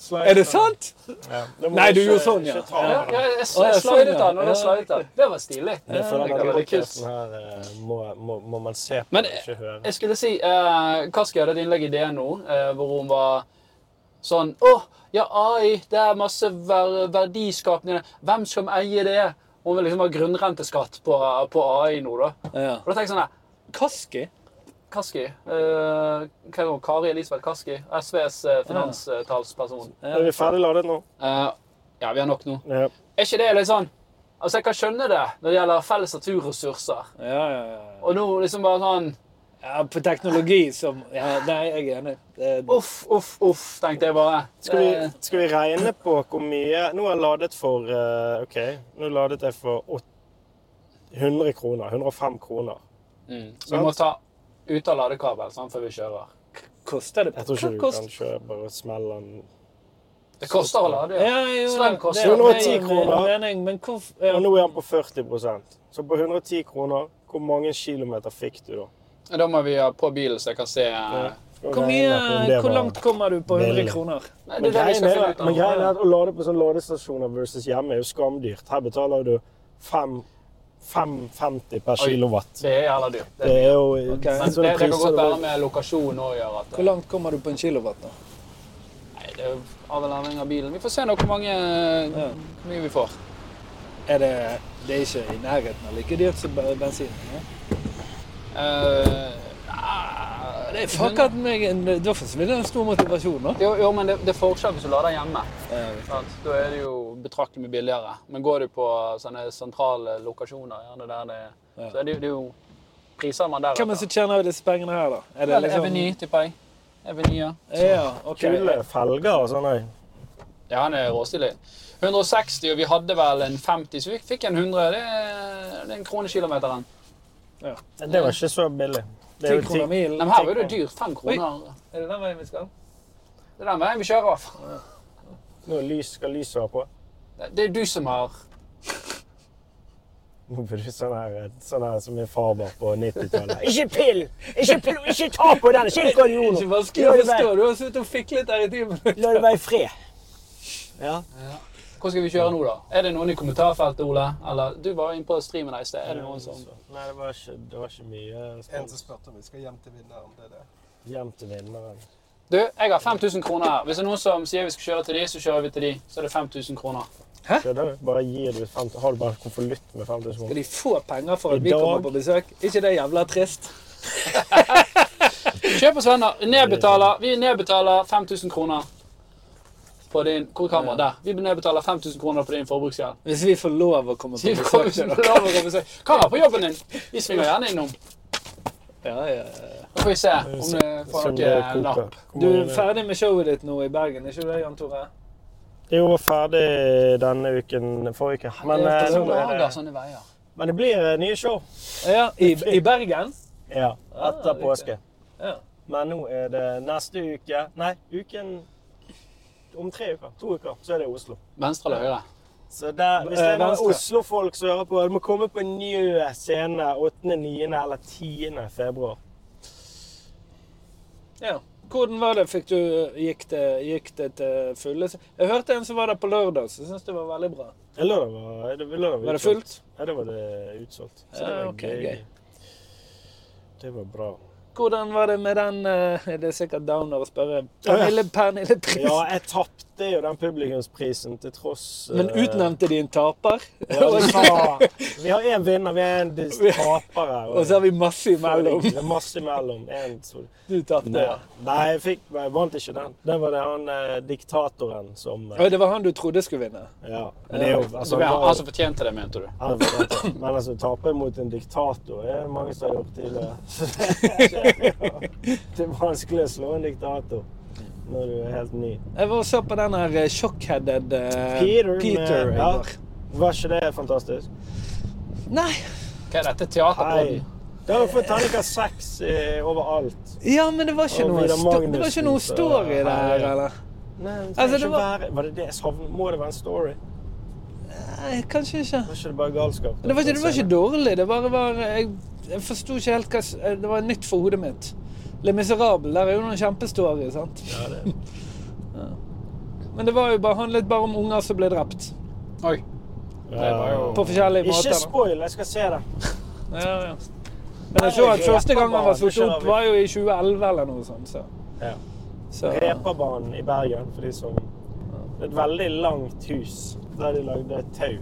S3: Slide
S4: Er det
S3: down.
S4: sant?
S3: Ja. Det må
S4: Nei, du
S3: ikke-
S4: gjorde sånn, ja.
S3: ikke ta
S2: Ja,
S3: den.
S2: ja, jeg
S4: Å, ja,
S2: sl-
S4: sånn,
S2: slidet
S4: ja.
S2: den, og da
S4: Ja.
S2: slidet den. Det var stilig.
S3: Jeg føler
S2: det
S3: denne
S2: var litt
S3: podcasten her eh, må, må, må man se på,
S2: Men-
S3: og ikke høre.
S2: Jeg skulle si eh, Kaski hadde et innlegg i DN nå, eh, hvor hun var sånn Å, ja, AI, det er masse ver verdiskapning. Hvem skal eie det? Hun vil liksom ha grunnrenteskatt på, på AI nå, da.
S4: Ja.
S2: Og da tenker jeg sånn her
S4: Kaski?
S2: Kaski eh, Hva er hun? Kari Elisabeth Kaski? SVs eh, finanstalsperson.
S3: Er vi ferdig ladet nå?
S2: Eh, ja, vi har nok nå.
S3: Ja.
S2: Er ikke det litt sånn Altså, jeg kan skjønne det når det gjelder felles naturressurser.
S4: Ja, ja, ja.
S2: Og nå liksom bare sånn
S4: Ja, på teknologi som ja, Nei, jeg er enig. Det er
S2: Uff, uff, uff, tenkte jeg bare. Eh,
S3: Skal vi,
S2: Det-
S3: skal vi regne på hvor mye Nå har jeg ladet for eh, OK, nå ladet jeg for åt- 100 kroner. 105 kroner.
S2: Mm. Vi
S3: Sant?
S2: må ta ut av ladekabel sant, før vi kjører.
S4: koster det
S3: Jeg tror
S4: Hva
S3: ikke du
S4: kost-
S3: kan kjøre bare smelle den
S2: Det koster å lade.
S4: ja,
S2: Ja.
S4: jo,
S2: Strøm koster
S4: det er-
S3: 110
S4: det er min
S3: kroner.
S4: Mening, men hvorf- ja.
S3: Og nå er den på 40 Så på 110 kroner, hvor mange kilometer fikk du da?
S2: Da må vi ha på bilen, så jeg kan se eh,
S3: Skal vi
S4: Hvor, mye,
S3: regne på om det
S4: hvor
S3: var-
S4: langt kommer du på 100
S3: Veldig.
S4: kroner?
S2: Nei, det er
S3: Men
S2: det vi
S3: greien
S2: skal finne
S3: er,
S2: ut
S3: men greien er
S2: av.
S3: at å lade på sånne ladestasjoner versus hjemme er jo skamdyrt. Her betaler du fem- fem- 50 per
S2: Oi.
S3: kilowatt.
S2: Det er jævla dyrt. Det, er
S3: Det
S2: dyrt.
S3: er jo
S4: Ok.
S2: men
S3: sånne
S2: det, det kan
S3: priser
S2: godt
S3: du-
S2: være med lokasjon òg gjør at
S4: Hvor langt kommer du på en kilowatt? da?
S2: Nei, det er jo av eller avhengig av bilen. Vi får se nå hvor mange
S4: Ja.
S2: hvor mye vi får.
S4: Er det, det er ikke i nærheten av like dyrt som be- bensin? Ja?
S2: Eh, nei,
S4: Ah, Det er fuck at meg, en- da forsvinner en stor motivasjon. da.
S2: Jo, jo, men det, det er forskjell hvis du lader hjemme.
S4: Ja.
S2: Sant? Da er det jo betraktelig mye billigere. Men går du på sånne sentrale lokasjoner, gjerne der det
S4: Ja.
S2: så er det, jo- det er jo priser man der
S4: Hvem er det som tjener disse pengene her, da? Er liksom-
S2: Eller Eveny, tipper jeg. Eveny, ja.
S4: Ja, ok.
S3: Kule felger og sånn. nei.
S2: Ja, han er råstilig. 160, og vi hadde vel en 50, så vi fikk en 100. Det er, det er en krone kilometeren.
S3: Det var ikke så billig. Det er
S4: 10
S3: jo ti
S4: kroner milen.
S2: Men her var det jo dyrt. Fem kroner.
S4: Er det den veien vi skal?
S2: Det er den veien vi kjører av.
S3: Nå er lys, skal lyset være på.
S2: Det- Det er du som har
S3: Nå blir du sånn her, sånn her som min far var på 90-tallet. Ikke pill! Ikke, pill! ikke ta på den! Ikke
S4: Det er
S3: kardiolo!
S4: ikke vanskelig å forstå. Du har sittet og fiklet her i ti minutter.
S3: La det være i fred. Ja.
S2: Hvor skal vi kjøre nå, da? Er det noen i kommentarfeltet, Ole? Eller du var inne på streamen her i sted. Er det noen som
S3: Nei, det var ikke, det var ikke mye
S5: En som
S3: spons.
S5: spurte om vi skal hjem til vinneren. det er det.
S3: Hjem til vinneren.
S2: Du, jeg har 5000 kroner her. Hvis det er noen som sier vi skal kjøre til de, så kjører vi til de. Så er det 5000 kroner.
S3: Skjønner du? Bare gir du 50, har du bare konvolutt med 5000
S4: Skal
S3: kroner.
S4: de få penger for
S3: I
S4: at vi kommer
S3: dag-
S4: på besøk? Ikke det jævla trist?
S2: Kjøp oss venner. Nedbetaler. Vi nedbetaler 5000 kroner på din Hvor er kameraet? Der. Vi nedbetaler 5000 kroner på din forbruksgjeld.
S4: Hvis vi får lov å komme på
S2: Vi kommer
S4: besøk.
S2: ikke
S4: til
S2: til
S4: dere.
S2: å komme seg. Kamera på jobben din. Vi svinger gjerne innom.
S4: Ja, ja, ja.
S2: Så får vi se om det får
S3: Som det
S2: noe
S3: koker.
S2: napp.
S3: Hvor
S4: Du
S3: mange
S4: er
S3: det-
S4: ferdig med showet ditt nå i Bergen, er ikke du det, Jan Tore?
S3: Jo, ferdig denne uken, forrige uke. Men,
S2: Det er
S3: eh,
S2: ofte
S3: nå
S2: som
S3: er
S2: lager
S3: det,
S2: sånne veier.
S3: men det blir eh, nye show.
S4: Ja, i, i Bergen?
S3: Ja,
S4: Ah,
S3: etter
S4: riktig.
S3: påske.
S4: Ja.
S3: Men nå er det neste uke Nei, uken Om tre uker. To uker, så er det Oslo.
S2: Venstre eller høyre?
S3: Så der, hvis det
S4: Eh,
S3: er noen
S4: Venstre.
S3: Oslo-folk som hører på, du må komme på Njø scene 8., 9. eller 10. februar.
S4: ja. Hvordan var det? Fikk du, gikk, det, gikk det til fulle? Jeg hørte en som var der på lørdag, så jeg syns det var veldig bra.
S3: Ja, Lørdag var, det- lørdag var
S4: Var det
S3: utsolgt.
S4: fullt?
S3: Ja, det var det utsolgt. Så
S4: Ja,
S3: det var
S4: ok,
S3: gøy.
S4: gøy.
S3: Det var bra.
S4: Hvordan var det med den eh, Det er sikkert downer å spørre. Pernille, Pernille Pris.
S3: Ja, jeg tapte tapte jo den publikumsprisen til tross eh,
S4: Men utnevnte de en taper?
S3: ja, vi, har, vi har én vinner, vi har én dis- taper her.
S4: Og så har vi masse imellom.
S3: Det er masse imellom. En sol.
S4: Du tapte.
S3: Nei,
S4: Ja.
S3: jeg, fikk, jeg vant ikke den. Det var det han eh, diktatoren som eh,
S4: Å, Det var han du trodde skulle vinne?
S3: Ja. Men det er jo altså,
S2: Så vi
S3: han
S2: har
S3: var-
S2: han som fortjente det, mente du?
S3: han fortjente det. Men altså, tape mot en diktator det er det mange som har gjort tidligere. Så det er- Det er vanskelig å slå en diktator når du er helt ny.
S4: Jeg var og så på den her eh, shockheaded eh,
S3: Peter,
S4: Peter
S3: med,
S4: i
S3: ja,
S4: går.
S3: Var ikke det fantastisk?
S4: Nei.
S2: Hva er dette
S3: Hei.
S2: teaterpodden?
S3: Da har du fått terningkast seks eh, overalt.
S4: Ja, men det var ikke
S3: Og
S4: noe,
S3: Vidar
S4: sto det var ikke noe
S3: Magnussen, så-
S4: story
S3: Nei.
S4: der, eller?
S3: Nei, det
S4: Altså,
S3: trenger
S4: det
S3: ikke
S4: var-
S3: være Var det det jeg savnet? Må det være en story?
S4: Nei, kanskje ikke.
S3: Var ikke det bare galskap?
S4: Det var ikke, det var ikke dårlig. Det bare var eh, Jeg, jeg forsto ikke helt hva s- eh, Det var nytt for hodet mitt. Le Miserable. Der er jo noen kjempestory, sant?
S3: Ja, det-
S4: Men det var jo bare, handlet bare om unger som ble drept.
S2: Oi. Det var jo
S4: På forskjellige måter.
S3: Ikke
S4: da.
S3: spoil, jeg skal se det.
S4: Ja, ja. Men jeg så at første gang han var fulgt opp, var jo i 2011 eller noe sånt. Så.
S3: Ja.
S4: Så,
S3: Reperbanen i Bergen, for de som Det er et veldig langt hus der de lagde tau.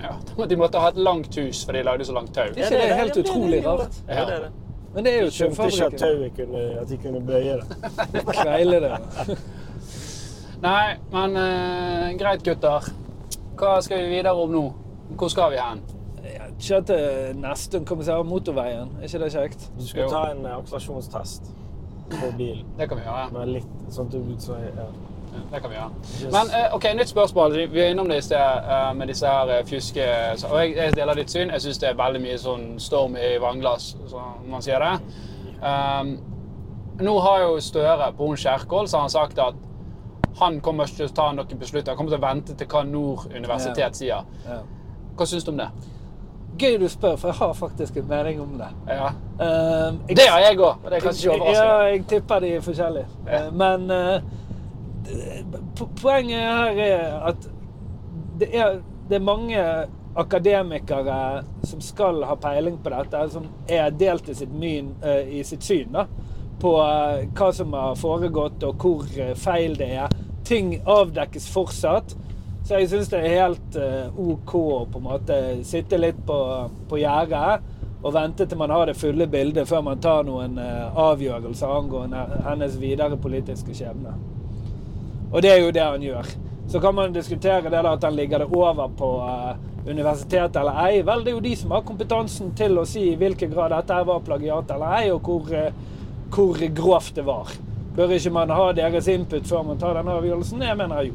S2: ja. De måtte ha et langt hus, for de lagde så langt tau.
S4: ikke det er helt utrolig rart?
S3: Ja, det er det.
S4: Men det er jo
S3: Jeg skjønte ikke at tauet
S4: tømmerfabrikken.
S3: kunne, at de kunne bøye det.
S4: Kveile det.
S2: Nei, men eh, greit, gutter. Hva skal vi videre om nå? Hvor skal vi hen?
S4: Jeg Ikke at det nesten kommer seg av motorveien. Er ikke det kjekt?
S3: Du
S2: Jo.
S3: skal ta en eh, akselerasjonstest på bilen.
S2: Det kan vi gjøre.
S3: Med litt sånn at du så, ja.
S2: Det kan vi gjøre.
S3: Yes.
S2: Men eh, ok, nytt spørsmål. Vi er innom det i sted eh, med disse her eh, fjuske... Og jeg, jeg deler ditt syn. Jeg syns det er veldig mye sånn storm i vannglass, som man sier det. Um, nå har jo Støre på Hun Kjerkol så har han sagt at han kommer ikke til å ta noen beslutninger. Han kommer til å vente til hva Nord universitet sier.
S4: Ja.
S2: Hva syns du om det?
S4: Gøy du spør, for jeg har faktisk en mening om det.
S2: Ja.
S4: Ehm, jeg-
S2: Det har jeg òg, og det er kanskje ikke overraskende.
S4: Ja, jeg tipper de er forskjellige.
S2: Ja.
S4: Men eh, det- po- poenget her er at det er, det er mange akademikere som skal ha peiling på dette, som er delt i sitt, myn, eh, i sitt syn da, på eh, hva som har foregått og hvor eh, feil det er. Ting avdekkes fortsatt. Så jeg syns det er helt eh, OK å på en måte sitte litt på, på gjerdet og vente til man har det fulle bildet før man tar noen eh, avgjørelser angående hennes videre politiske skjebne. Og det er jo det han gjør. Så kan man diskutere det da at han ligger det over på eh, universitetet eller ei. Vel, det er jo de som har kompetansen til å si i hvilken grad dette her var plagiat eller ei, og hvor, eh, hvor grovt det var. Bør ikke man ha deres input før man tar den avgjørelsen? Jeg mener
S2: Jeg,
S4: jo.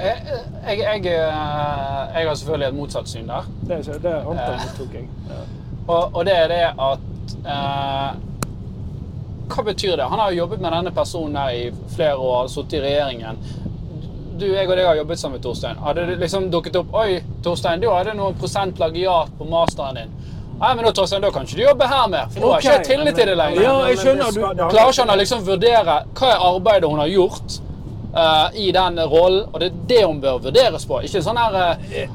S2: Eh, jeg, jeg, eh, jeg har selvfølgelig et motsatt syn der.
S4: Det er ikke det
S2: Eh.
S4: antallet tok jeg. Ja.
S2: Og, og det er det at eh, Hva betyr det? Han har jo jobbet med denne personen her i flere år, altså sittet i regjeringen. Du, jeg og deg har jobbet sammen med Torstein. Hadde det liksom dukket opp Oi, Torstein, du hadde noen prosent plagiat på masteren din. Nei, men da, Torstein, da kan ikke du jobbe her mer, for nå har ikke jeg
S4: Ok.
S2: tillit til det lenger.
S4: Ja, jeg skjønner,
S3: Men det skal-
S4: du-
S3: det har-
S2: Klarer ikke han å liksom vurdere hva er arbeidet hun har gjort eh, i den rollen, og det er det hun bør vurderes på. Ikke sånn her eh,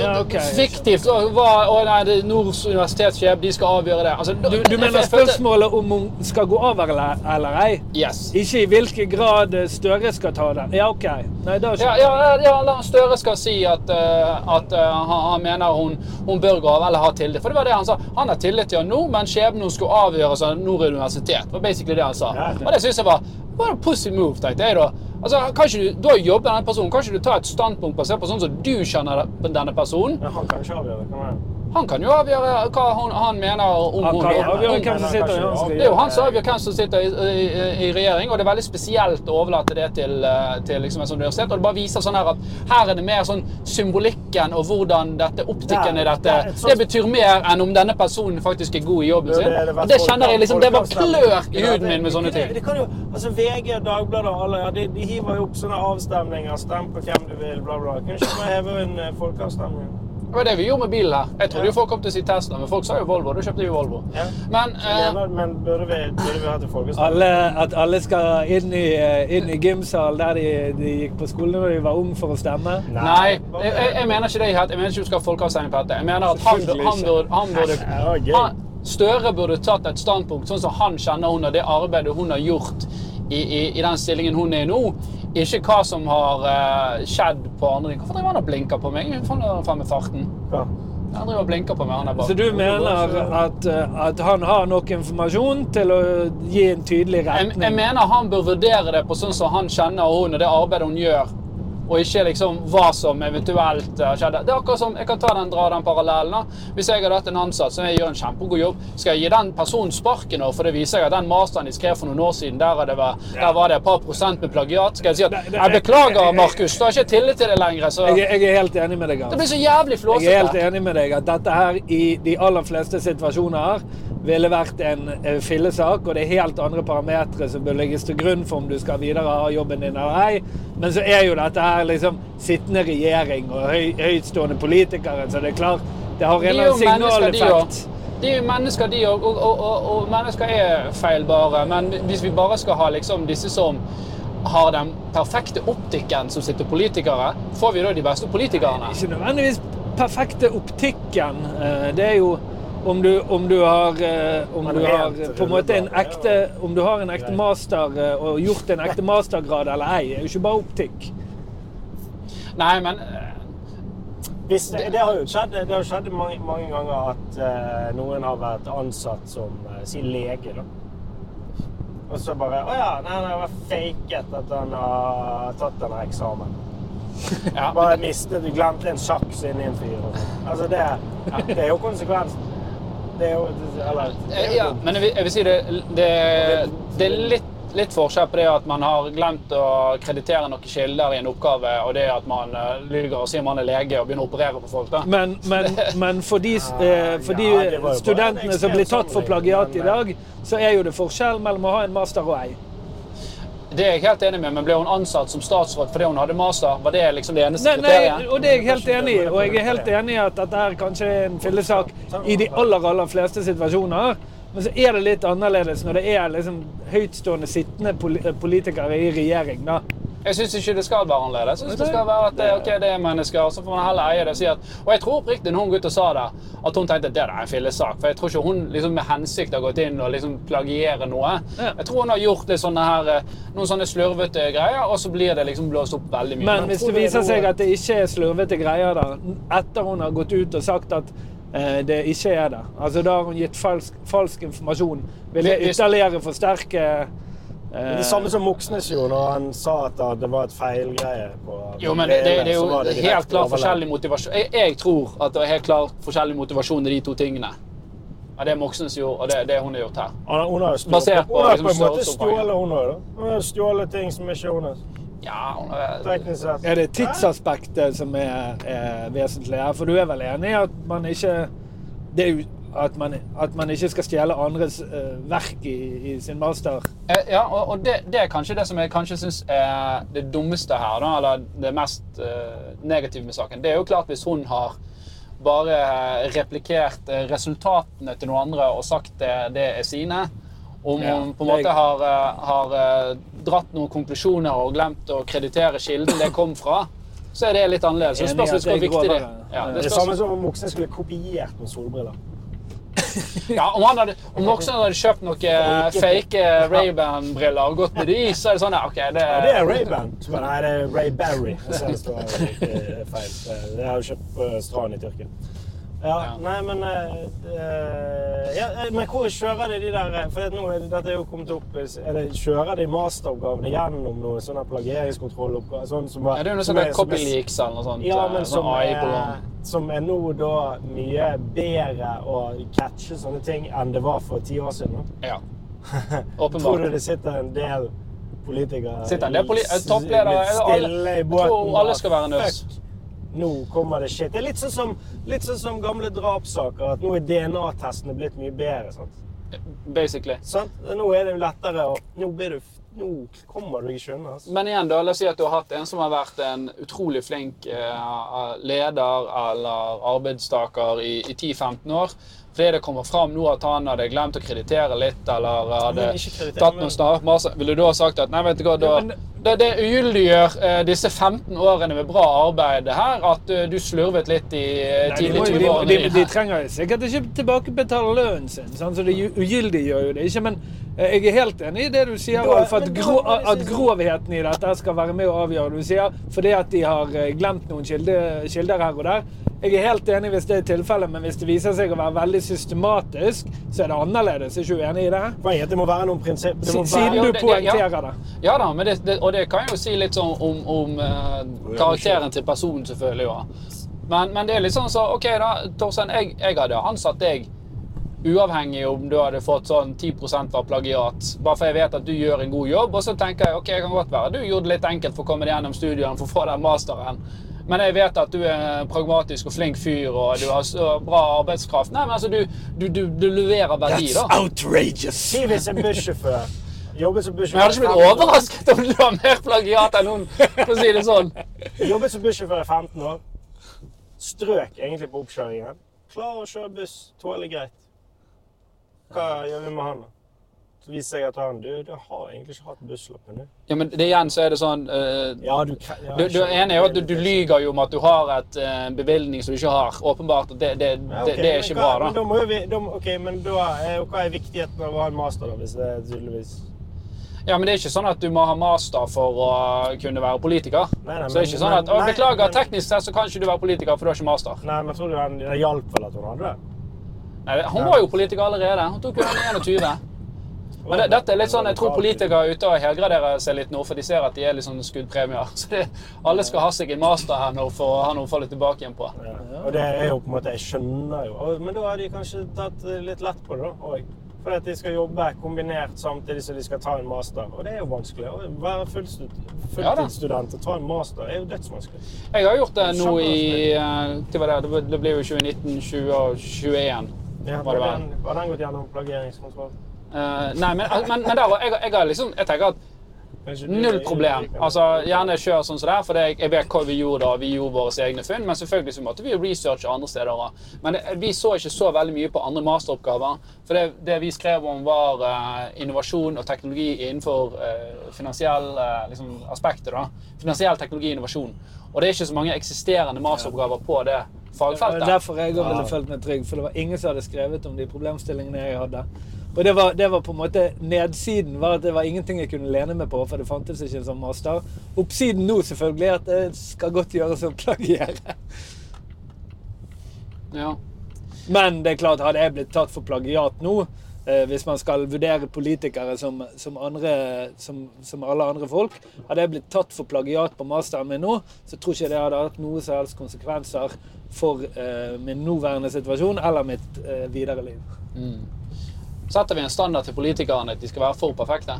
S4: Ja, ok, jeg skjønner.
S2: fiktivt og hva, å, nei, det er Nords universitetssjef, de skal avgjøre det. Altså,
S4: Du, du mener spørsmålet om hun skal gå av eller, eller ei?
S2: Yes.
S4: Ikke i hvilken grad eh, Støre skal ta den? Ja, OK. Nei, da
S2: Ja,
S4: skjønner jeg.
S2: ja, ja, la Støre skal si at, eh, at eh, han, han mener hun, hun bør gå av eller ha tillit. For det var det han sa. Han har tillit til henne nå, men skjebnen hun skulle avgjøres av Nord universitet. Det var basically det han sa.
S3: Ja, det-
S2: Og det synes jeg var, var en pussy move, tenkte jeg da. Altså, kan ikke du, du har jobbet med denne personen. Kan ikke du ta et standpunkt basert på sånn som du kjenner denne personen?
S3: Men han kan ikke avgjøre det, kan han?
S2: Han kan jo avgjøre hva hun, han mener om
S4: Han
S2: hun
S4: kan
S2: vil.
S4: avgjøre
S2: Om-
S4: hvem som sitter i hans
S2: det er jo han som avgjør hvem som sitter i, i, i- i regjering, og det er veldig spesielt å overlate det til, eh, til liksom en sånn universitet. Og det bare viser sånn her at her er det mer sånn symbolikken og hvordan dette optikken i
S3: Ja,
S2: dette
S3: det er et sånt-
S2: Det betyr mer enn om denne personen faktisk er god i jobben sin.
S3: er
S2: Og det
S3: verste
S2: kjenner jeg liksom Det var
S3: folkeavstemning.
S2: klør i
S3: Ja,
S2: huden
S3: det-
S2: min med sånne
S3: det-
S2: ting.
S3: Det kan jo, altså VG, Dagbladet og alle ja, de, de hiver jo opp sånne avstemninger. Stem på hvem du vil, bla, bla. Kunne ikke man heve en eh, folkeavstemning?
S2: Det var det vi gjorde med bilen her. Jeg trodde jo folk kom til å si Tesla, men folk sa jo Volvo. Da kjøpte vi Volvo.
S3: Ja.
S2: Men eh,
S3: Mener- Men burde vi, burde vi hatt en folkeavstemning?
S4: Alle, at alle skal inn i, eh, inn i gymsal der de, de gikk på skolen da de var ung for å stemme.
S2: Nei, jeg, jeg- jeg mener ikke det i helt. Jeg mener ikke du skal ha folkeavstemning på dette. Jeg mener at han,
S3: Selvfølgelig
S2: han
S3: ikke.
S2: burde, han burde
S3: Det var gøy.
S2: han, Støre burde tatt et standpunkt sånn som han kjenner hun og det arbeidet hun har gjort i, i, i den stillingen hun er i nå, Ikke hva som har eh, skjedd på andre ting. Hvorfor driver han og blinker på meg? Faen, nå er han faen meg farten.
S3: Ja.
S2: Han driver og blinker på meg, han der bak.
S4: Så du mener at, eh, at han har nok informasjon til å gi en tydelig
S2: Jeg, jeg
S4: retning?
S2: mener han bør vurdere det på sånn som han kjenner hun og det arbeidet hun gjør. Og ikke liksom hva som eventuelt eh, skjedde. Det er akkurat som, Jeg kan ta den, dra den parallellen. da. Hvis jeg hadde hatt en ansatt som jeg gjør en kjempegod jobb, skal jeg gi den personen sparken nå? For det viser jeg at den masteren de skrev for noen år siden, der, hadde vært, der var det et par prosent med plagiat. Skal jeg si at
S4: Nei, det-
S2: jeg beklager, Markus, du har ikke tillit til det lenger. Så
S4: Jeg, jeg er helt enig med deg. altså.
S2: det blir
S4: Hans.
S2: så jævlig
S4: Jeg er helt
S2: flåsete.
S4: enig med deg at dette her i de aller fleste situasjoner ville vært en eh, fillesak, og det er helt andre parametere som bør legges til grunn for om du skal videre ha jobben din eller ei. Men så er jo dette her liksom sittende regjering og høy, høytstående politikere, så det er klart det har
S2: De er
S4: en eller
S2: jo
S4: annen
S2: mennesker, de
S4: signaleffekt.
S2: òg. De er jo mennesker, de òg. Og, og, og, og mennesker er feilbare. Men hvis vi bare skal ha liksom disse som har den perfekte optikken som sitter politikere, får vi da de beste politikerne?
S4: Ikke nødvendigvis perfekte optikken. eh, Det er jo om du, om du har, eh, om
S3: Men
S4: du
S3: rent
S4: har eh, på en måte en
S3: rulleblad, det er
S4: ekte, om du har en ekte
S3: greit.
S4: master eh, og gjort en ekte mastergrad eller ei, er jo ikke bare optikk.
S2: Nei, men eh,
S3: Hvis det, det har jo skjedd, det har skjedd mange, mange ganger at eh, noen har vært ansatt som eh, si lege, da. Og så bare Å ja, nei, nei, det var faket at han har tatt denne eksamen.
S2: ja.
S3: Bare mistet, du glemte en saks inni en fyr. og sånn. Altså, det, det er jo konsekvensen. Det er jo det- Eller det er
S2: Eh,
S3: jo
S2: ja
S3: dumt.
S2: men jeg vil, jeg vil si det, det, det er litt, litt forskjell på det at man har glemt å kreditere noen kilder i en oppgave, og det at man eh, lyger og sier man er lege og begynner å operere på folk. da.
S4: Men, men, men for de, s-
S3: Ah, Ja,
S4: eh,
S3: ja,
S4: for
S3: det
S4: de
S3: var jo bare en
S4: studentene som blir
S3: ekstrem
S4: tatt for
S3: sammenligning,
S4: plagiat i
S3: men,
S4: dag, så er jo det forskjell mellom å ha en master og ei.
S2: Det er jeg helt enig med, men ble hun ansatt som statsråd fordi hun hadde master? Var det liksom det eneste
S4: Nei, nei,
S2: kriteriet?
S4: og det er jeg helt enig i. Og jeg er helt enig i at dette er kanskje er en fillesak i de aller, aller fleste situasjoner. Men så er det litt annerledes når det er liksom høytstående sittende poli- politikere i regjering, da.
S2: Jeg syns ikke det skal være annerledes. Jeg synes det skal være at eh, ok, det er mennesker, så får man heller eie det og si at Og jeg tror oppriktig når hun gutta sa det, at hun tenkte at det der er en fillesak. For jeg tror ikke hun liksom med hensikt har gått inn og liksom plagiere noe.
S4: Ja.
S2: Jeg tror hun har gjort litt sånne her, eh, noen sånne slurvete greier, og så blir det liksom blåst opp veldig mye.
S4: Men hvis det viser seg at det ikke er slurvete greier da, etter hun har gått ut og sagt at eh, det ikke er det, altså da har hun gitt falsk, falsk informasjon, vil det
S2: Hvis-
S4: ytterligere forsterke eh,
S3: Det
S2: eh,
S3: er det samme som Moxnes gjorde når han sa at det var et feilgreie på
S2: Jo, men det, det, det er jo
S3: så var det direkte
S2: helt klart
S3: overlegg.
S2: forskjellig motivasjon. Jeg, jeg tror at det er helt klart forskjellig motivasjon i de to tingene. Av det Moxnes gjorde, og det, det hun har gjort her.
S3: Hun har- Hun har jo stjålet-
S2: Basert på
S3: hun har
S2: liksom
S3: på en måte
S2: størrelsesoppgangen.
S3: stjålet, hun har jo da. Hun har stjålet ting som ikke hun har.
S2: Ja, hun er,
S3: Teknisk sett.
S4: Er det tidsaspektet som er, er vesentlig her? For du er vel enig i at man ikke det er jo, at, man, at man ikke skal stjele andres eh, verk i, i sin master?
S2: Eh, ja, og, og det, det er kanskje det som jeg kanskje syns er det dummeste her, da, eller det mest eh, negative med saken. Det er jo klart hvis hun har bare replikert eh, resultatene til noen andre og sagt det, det er sine, om
S4: Ja,
S2: hun på en
S4: det er-
S2: måte har, eh, har eh, dratt noen konklusjoner og glemt å kreditere kilden det kom fra, så er det litt annerledes. Det
S4: Enig i
S2: spørs
S4: at
S3: altså,
S2: litt hvor
S4: det
S2: viktig
S4: er
S2: det
S4: grovere.
S2: ja,
S3: Det er
S2: spørs-
S3: samme som om Moxnes skulle kopiert med solbriller.
S2: Ja, om, han hadde, om Moxnes hadde kjøpt noen fake eh, Ray-Ban-briller og gått med de, så er det sånn ja, OK, det,
S3: Ja, det er Ray-Ban. Men Nei, det er Ray Barry. Jeg ser det står eh, feil. Det har jo kjøpt på stranden i Tyrkia. Ja,
S2: Ja.
S3: nei, men eh, det- ja, eh, Men hvor kjører de de der eh, For nå er det, dette er jo kommet opp eh, er det, Kjører de masteroppgavene gjennom noe sånn plagieringskontrolloppgave? Sånn som
S2: Ja, det er jo noe
S3: som
S2: sånt
S3: er- som er-
S2: copyleaks eller noe sånt.
S3: Ja,
S2: eh,
S3: men
S2: sånn
S3: som er,
S2: AI-program.
S3: som er nå da mye bedre å catche sånne ting enn det var for ti år siden. da.
S2: Ja.
S3: Tror du
S2: Åpenbart.
S3: det sitter en del politikere
S2: Sitter en del poli-
S3: i s-
S2: toppledere,
S3: litt
S2: eller alle-
S3: stille i
S2: jeg
S3: båten
S2: tror alle
S3: og
S2: skal være nerds.
S3: fuck, Nå kommer det shit. Det er litt sånn som, litt sånn som gamle drapssaker, at nå er DNA-testene blitt mye bedre. sant?
S2: Basically.
S3: sant? Nå er det lettere å Nå, blir du, f- nå kommer du ikke unna. altså.
S2: Men igjen, da, la oss si at du har hatt en som har vært en utrolig flink eh, leder eller arbeidstaker i, i 10-15 år. Fordi det kommer fram nå at han hadde glemt å kreditere litt, eller hadde
S3: Men ikke kreditere,
S2: tatt
S3: men-
S2: noen snarmaser, ville du da ha sagt at nei, vet du hva, da,
S4: Ja, men-
S2: det, det ugyldiggjør eh, disse 15 årene med bra arbeid her, at eh, du slurvet litt i eh,
S4: De,
S2: tidlig
S4: må jo-
S2: 20
S4: de,
S2: årene
S4: sånn de, de trenger jo sikkert ikke tilbakebetale lønnen sin, sant? så det ugyldiggjør jo det ikke. Men eh, Jeg er helt enig i det du sier,
S3: Da-
S4: Alf, at,
S3: men da
S4: gro,
S3: må du si
S4: at
S3: sånn-
S4: grovheten i dette skal være med å avgjøre. Du sier fordi at de har eh, glemt noen kilde, kilder her og der. Jeg er helt enig hvis det er tilfellet, men hvis det viser seg å være veldig systematisk, så er det annerledes. Er ikke du enig i det?
S3: Poenget er at det må være noen prinsipp. Det må
S4: Si-
S3: være...
S4: Siden
S2: Ja,
S4: du
S2: det- det- ja.
S4: poengterer det.
S2: Ja da, men det, det, og det kan jo si litt sånn om, om eh, karakteren til personen, selvfølgelig. Ja. Men, men det er litt sånn så, OK, da, Torstein. Jeg, jeg hadde ansatt deg uavhengig om du hadde fått sånn 10 av plagiat. Bare for jeg vet at du gjør en god jobb. Og så tenker jeg OK, det kan godt være du gjorde det litt enkelt for å komme deg gjennom studiene for å få den masteren. Men jeg vet at du er en pragmatisk og flink fyr, og du har så bra arbeidskraft. Nei, men altså, du, du, du, du leverer verdi, da.
S4: outrageous!
S3: Si hvis en bussjåfør jobber som bussjåfør
S2: Men jeg hadde ikke blitt overrasket om du har mer plagiat enn hun, for å si det sånn.
S3: Jobbet som bussjåfør i 15 år. Strøk egentlig på oppkjøringen. Klarer å kjøre buss. Tåler greit. Hva gjør vi med han, da? Så viser jeg at han Du, du har egentlig ikke hatt bussloppen, du.
S2: Ja, men det igjen så er det sånn eh,
S3: Ja, du kan ja,
S2: du, du er enig i at du, du lyger jo om at du har et eh, bevilgning som du ikke har. Åpenbart. at Det, det,
S3: Ja,
S2: det, det
S3: ok,
S2: er
S3: men
S2: ikke
S3: hva-
S2: bra,
S3: Men
S2: da.
S3: da må jo vi, da, må- ok, men da er, hva er viktigheten av å ha en master, da, hvis det er tydeligvis
S2: Ja, Men det er ikke sånn at du må ha master for å kunne være politiker.
S3: Nei, nei,
S2: så det
S3: men-
S2: er ikke sånn at
S3: men-
S2: å,
S3: nei,
S2: 'Beklager,
S3: men-
S2: teknisk sett så kan ikke du være politiker, for du har ikke master'.
S3: Nei, men tror du han, det hjalp vel at hun hadde det?
S2: Nei, Hun var jo politiker allerede. Hun tok jo den 21. Men det, dette er litt sånn, Jeg tror politikere er ute og helgraderer seg litt nå, for de ser at de er litt sånn skuddpremier. Så det, alle skal ha seg en master her nå for å ha noe å falle tilbake igjen på.
S3: Ja. Og det er jo på en måte, jeg skjønner jo. Og- Men da har de kanskje tatt eh, litt lett på det da, også. For at de skal jobbe kombinert samtidig som de skal ta en master. Og det er jo vanskelig. Å være fullstud-
S2: Ja da.
S3: fulltidsstudent og ta en master er jo dødsvanskelig.
S2: Jeg har gjort det nå i eh, hva var det, det ble jo 2019, 20 og 21. Var
S3: Ja, var,
S2: det vel?
S3: den, var den gått gjennom plageringskontroll?
S2: Eh, nei, men, men, men der, var- jeg, jeg, har liksom, jeg tenker at
S3: Kanskje du-
S2: null problem. Altså, Gjerne kjør sånn som det er, for det, jeg vet hva vi gjorde da. Vi gjorde våre egne funn, men selvfølgelig så måtte vi jo researche andre steder. også. Men det, vi så ikke så veldig mye på andre masteroppgaver. For det, det vi skrev om, var eh, innovasjon og teknologi innenfor eh, finansiell eh, liksom, aspektet. da. Finansiell teknologi og innovasjon. Og det er ikke så mange eksisterende masteroppgaver på det
S4: Det
S2: fagfeltet.
S4: var derfor jeg også ville følt meg trygg, for det var ingen som hadde skrevet om de problemstillingene jeg hadde. Og det var, det var på en måte nedsiden, var at det var ingenting jeg kunne lene meg på, for det fantes ikke en sånn master. Oppsiden nå, selvfølgelig, er at det skal godt gjøres å plagiere.
S2: Ja.
S4: Men det er klart, hadde jeg blitt tatt for plagiat nå, eh, hvis man skal vurdere politikere som, som, andre, som, som alle andre folk, hadde jeg blitt tatt for plagiat på masteren min nå, så tror ikke jeg det hadde hatt noe som helst konsekvenser for eh, min nåværende situasjon eller mitt eh, videre liv.
S2: Mm. Setter vi en standard til politikerne at de skal være for perfekte?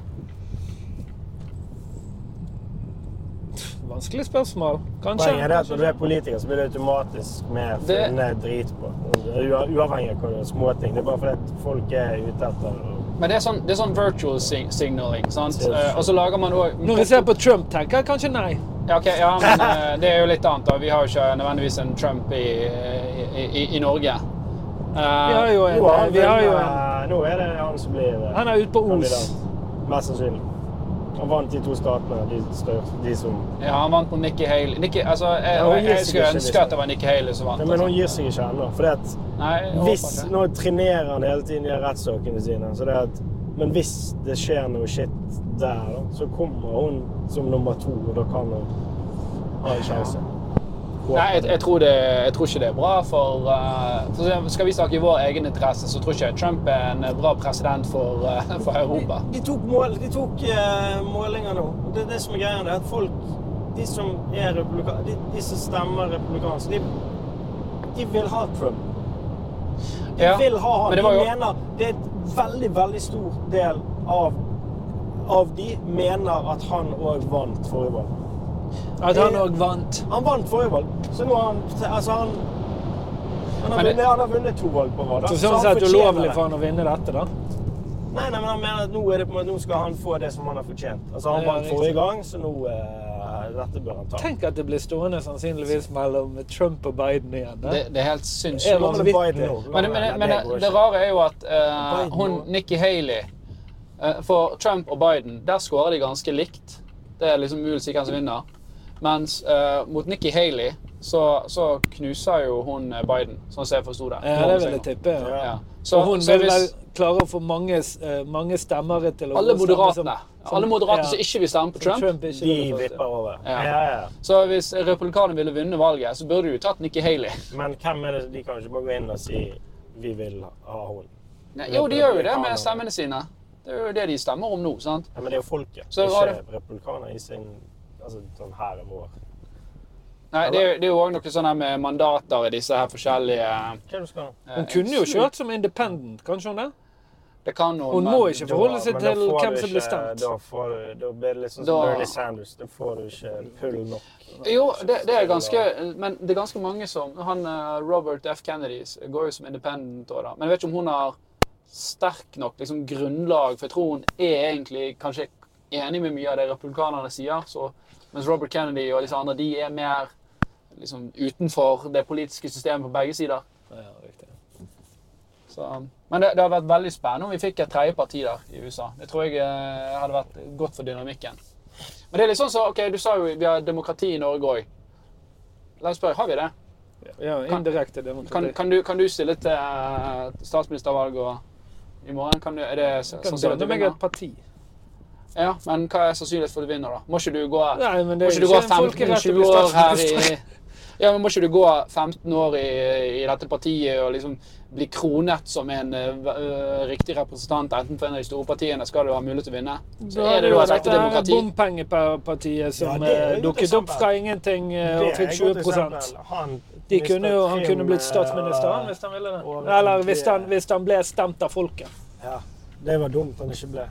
S4: Vanskelig spørsmål, kanskje.
S3: Poenget er det at når du er politiker, så blir du automatisk mer
S2: Det-
S3: funnet drit på. Ua- Uavhengig av hva det er, småting. Det er bare fordi at folk er ute etter
S2: Men det er sånn, det er sånn virtual sig signaling, sant? Eh, Og så lager man også...
S4: Når vi ser på Trump, tenker jeg kanskje nei.
S2: Ja, ok, ja, men eh, det er jo litt annet da. Vi har jo ikke nødvendigvis en Trump i, i, i, i Norge.
S4: Vi har jo en,
S3: Nå, han,
S4: vi har jo en
S3: vinner- nå er det han som blir eh,
S4: Han er ute på Os.
S3: kandidat. Mest sannsynlig. Han vant de to statene, de, største, de som
S2: Eh, Ja, han vant mot Nikki Haley. Nikki, altså, jeg,
S3: Ja, hun
S2: jeg,
S3: gir
S2: jeg
S3: seg
S2: skulle
S3: ikke,
S2: ønske
S3: liksom.
S2: at det var Nikki Haley som vant.
S3: Nei, Men hun
S2: altså.
S3: gir seg ikke ennå. fordi at
S2: Nei, jeg håper
S3: hvis
S2: ikke.
S3: Nå trenerer han hele tiden de rettssakene sine. Så det er at, men hvis det skjer noe shit der, da, så kommer hun som nummer to, og da kan hun ha en sjanse.
S2: Nei, jeg, jeg, tror det, jeg tror ikke det er bra, for, eh, for skal vi snakke i vår egen interesse, så tror ikke jeg Trump er en bra president for, eh, for Europa.
S3: De, de tok, mål, de tok eh, målinger nå. Og Det er det som er greia. det er at folk, De som, er republika- de, de som stemmer republikansk, de, de vil ha Trump. De
S2: Ja,
S3: vil ha
S2: men
S3: han.
S2: det
S3: De
S2: var jo-
S3: mener Det er et veldig, veldig stor del av, av de mener at han òg vant forrige valg.
S4: At han
S3: Eh,
S4: òg vant.
S3: Han vant forrige valg, så nå har han Altså, han han har,
S2: Men det-
S3: vunnet, han har vunnet to valg på rad. da.
S4: Så
S3: han
S4: sånn sett
S3: fortjener
S4: ulovlig
S3: det.
S4: for han å vinne dette, da.
S3: Nei, nei, men han mener at nå, er det på en måte, nå skal han få det som han har fortjent. Altså, Han
S4: Ja,
S3: vant
S4: riktig.
S3: forrige gang, så nå eh, Dette bør han ta.
S4: Tenk at det blir stående sannsynligvis mellom Trump og Biden igjen. da.
S2: Det, det er helt
S4: Ja,
S2: sinnssykt.
S3: Nå må det
S4: vanvittig.
S3: Biden nå.
S2: Men, men,
S3: Nei,
S2: men
S3: går
S2: det, det
S3: ikke.
S2: rare er jo at eh,
S3: Biden
S2: hun,
S3: og-
S2: Nikki Haley eh, For Trump og Biden, der scorer de ganske likt. Det er liksom mulig å si hvem som vinner. Mens eh, mot Nikki Haley så, så knuser jo hun eh, Biden, sånn som jeg forsto det.
S4: Ja, det vil jeg tippe. ja.
S2: Ja. Så,
S4: Og hun
S2: så
S4: vil vel
S2: hvis
S4: klare å få mange, s- eh, mange stemmere til å
S2: alle
S4: stemme som-
S2: moderatene alle
S4: ja,
S2: moderatene som ikke vil stemme på Trump
S4: som Trump ikke
S3: De
S4: ville fått.
S3: vipper over.
S2: Ja.
S3: Ja, ja.
S2: Så hvis republikanerne ville vunne valget, så burde de jo tatt Nikki Haley.
S3: Men hvem er det de kan ikke bare gå inn og si vi vil ha hun?
S2: Nei, jo, de gjør jo det med stemmene sine. Det er jo det de stemmer om nå. sant?
S3: Ja, men det er jo folket,
S2: Så var
S3: ikke republikaner i sin Altså sånn her er vår.
S2: Nei, Det er jo- det er jo òg noe sånn her med mandater i disse her forskjellige
S3: Hva er det du skal ha?
S2: eh,
S4: Hun kunne jo kjørt som independent, kanskje hun det?
S2: Det kan hun,
S4: Hun
S2: men-
S4: må ikke
S3: Da-
S4: forholde seg
S3: men da
S4: til
S3: får
S4: hvem
S3: du
S4: som blir
S3: ikke-
S4: stemt.
S3: Da, får du, da blir det litt sånn som
S2: Da-
S3: Bernie Sanders. Da får du ikke pull nok.
S2: Jo, det, det er ganske Men det er ganske mange som Han eh, Robert F. Kennedy s- går jo som independent òg, da. Men jeg vet ikke om hun har sterk nok liksom, grunnlag, for jeg tror hun er egentlig kanskje enig med mye av det republikanerne sier. Så, mens Robert Kennedy og disse andre, de er mer liksom, utenfor det politiske systemet på begge sider.
S4: Ja, riktig.
S2: Så, um, men det, det har vært veldig spennende om vi fikk et tredje parti der i USA. Det tror jeg eh, hadde vært godt for dynamikken. Men det er litt sånn så, ok, du sa jo vi har demokrati i Norge òg. La oss spørre, har vi det?
S4: Ja, indirekte demokrati.
S2: Kan, kan, du, kan du stille til eh, statsministervalg og i morgen? Kan du, er sånn det s-
S4: kan
S2: sannsynlig at
S4: danne
S2: du
S4: meg
S2: vinner?
S4: et parti.
S2: Ja, men hva er sannsynligheten for at du vinner, da? Må ikke du gå,
S4: Nei, men
S2: må
S4: det er
S2: ikke du
S4: jo
S2: gå
S4: ikke en folkerett å
S2: 15-20
S4: bli
S2: år her i
S4: statsminister.
S2: ja, men Må ikke du gå 15 år i, i dette partiet og liksom bli kronet som en eh, v- eh, riktig representant enten for en av de store partiene, skal du ha mulighet til å vinne? Så
S4: Da
S2: er det
S4: jo
S2: da et ekte
S4: dette her
S2: demokrati.
S4: bompengepartiet som
S3: Ja, det er jo sånn
S4: eh,
S3: et
S4: dukket opp
S3: eksempel.
S4: fra ingenting eh, og fikk
S3: sånn
S4: 20
S3: Han, eh,
S4: De kunne jo, Han kunne blitt statsminister
S3: statsminister
S4: han, hvis han ville
S3: og-
S4: det. Eller hvis han, hvis han ble stemt av folket.
S3: Ja, det var dumt han ikke ble.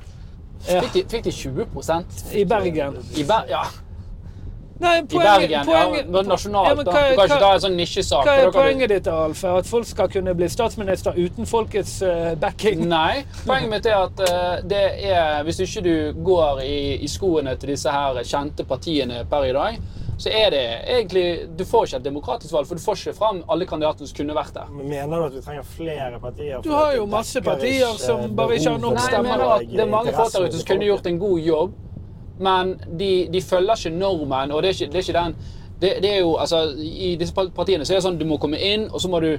S4: Ja,
S2: Fikk de, fikk de 20
S4: I Bergen.
S2: i, Ber ja,
S4: Nei,
S2: i Bergen? ja, men nasjonalt,
S4: Ja, men
S2: da.
S4: hva er-
S2: Du kan ikke
S4: hva-
S2: ta en sånn nisjesak.
S4: Hva
S2: for da
S4: er
S2: kan du-
S4: poenget ditt, Alf? At folk skal kunne bli statsminister uten folkets eh, backing?
S2: Nei. Poenget mitt er at eh, det er Hvis ikke du går i, i skoene til disse her kjente partiene per i dag, så er det egentlig Du får ikke et demokratisk valg, for du får ikke fram alle kandidatene som kunne vært der.
S3: Men Mener du at vi trenger flere partier?
S4: Du
S3: for
S4: har
S3: at
S4: jo
S3: det
S4: masse
S3: dekker
S4: partier
S3: ikke
S4: som bare ikke har nok
S2: Nei,
S3: behovet
S2: jeg
S4: stemmer.
S2: mener at det er mange folk der
S3: interessene
S2: ute som
S3: til
S2: kunne gjort en god jobb, men de, de følger ikke normen, og det er ikke, det er ikke den det, det er jo, altså, I disse par- partiene så er det sånn du må komme inn, og så må du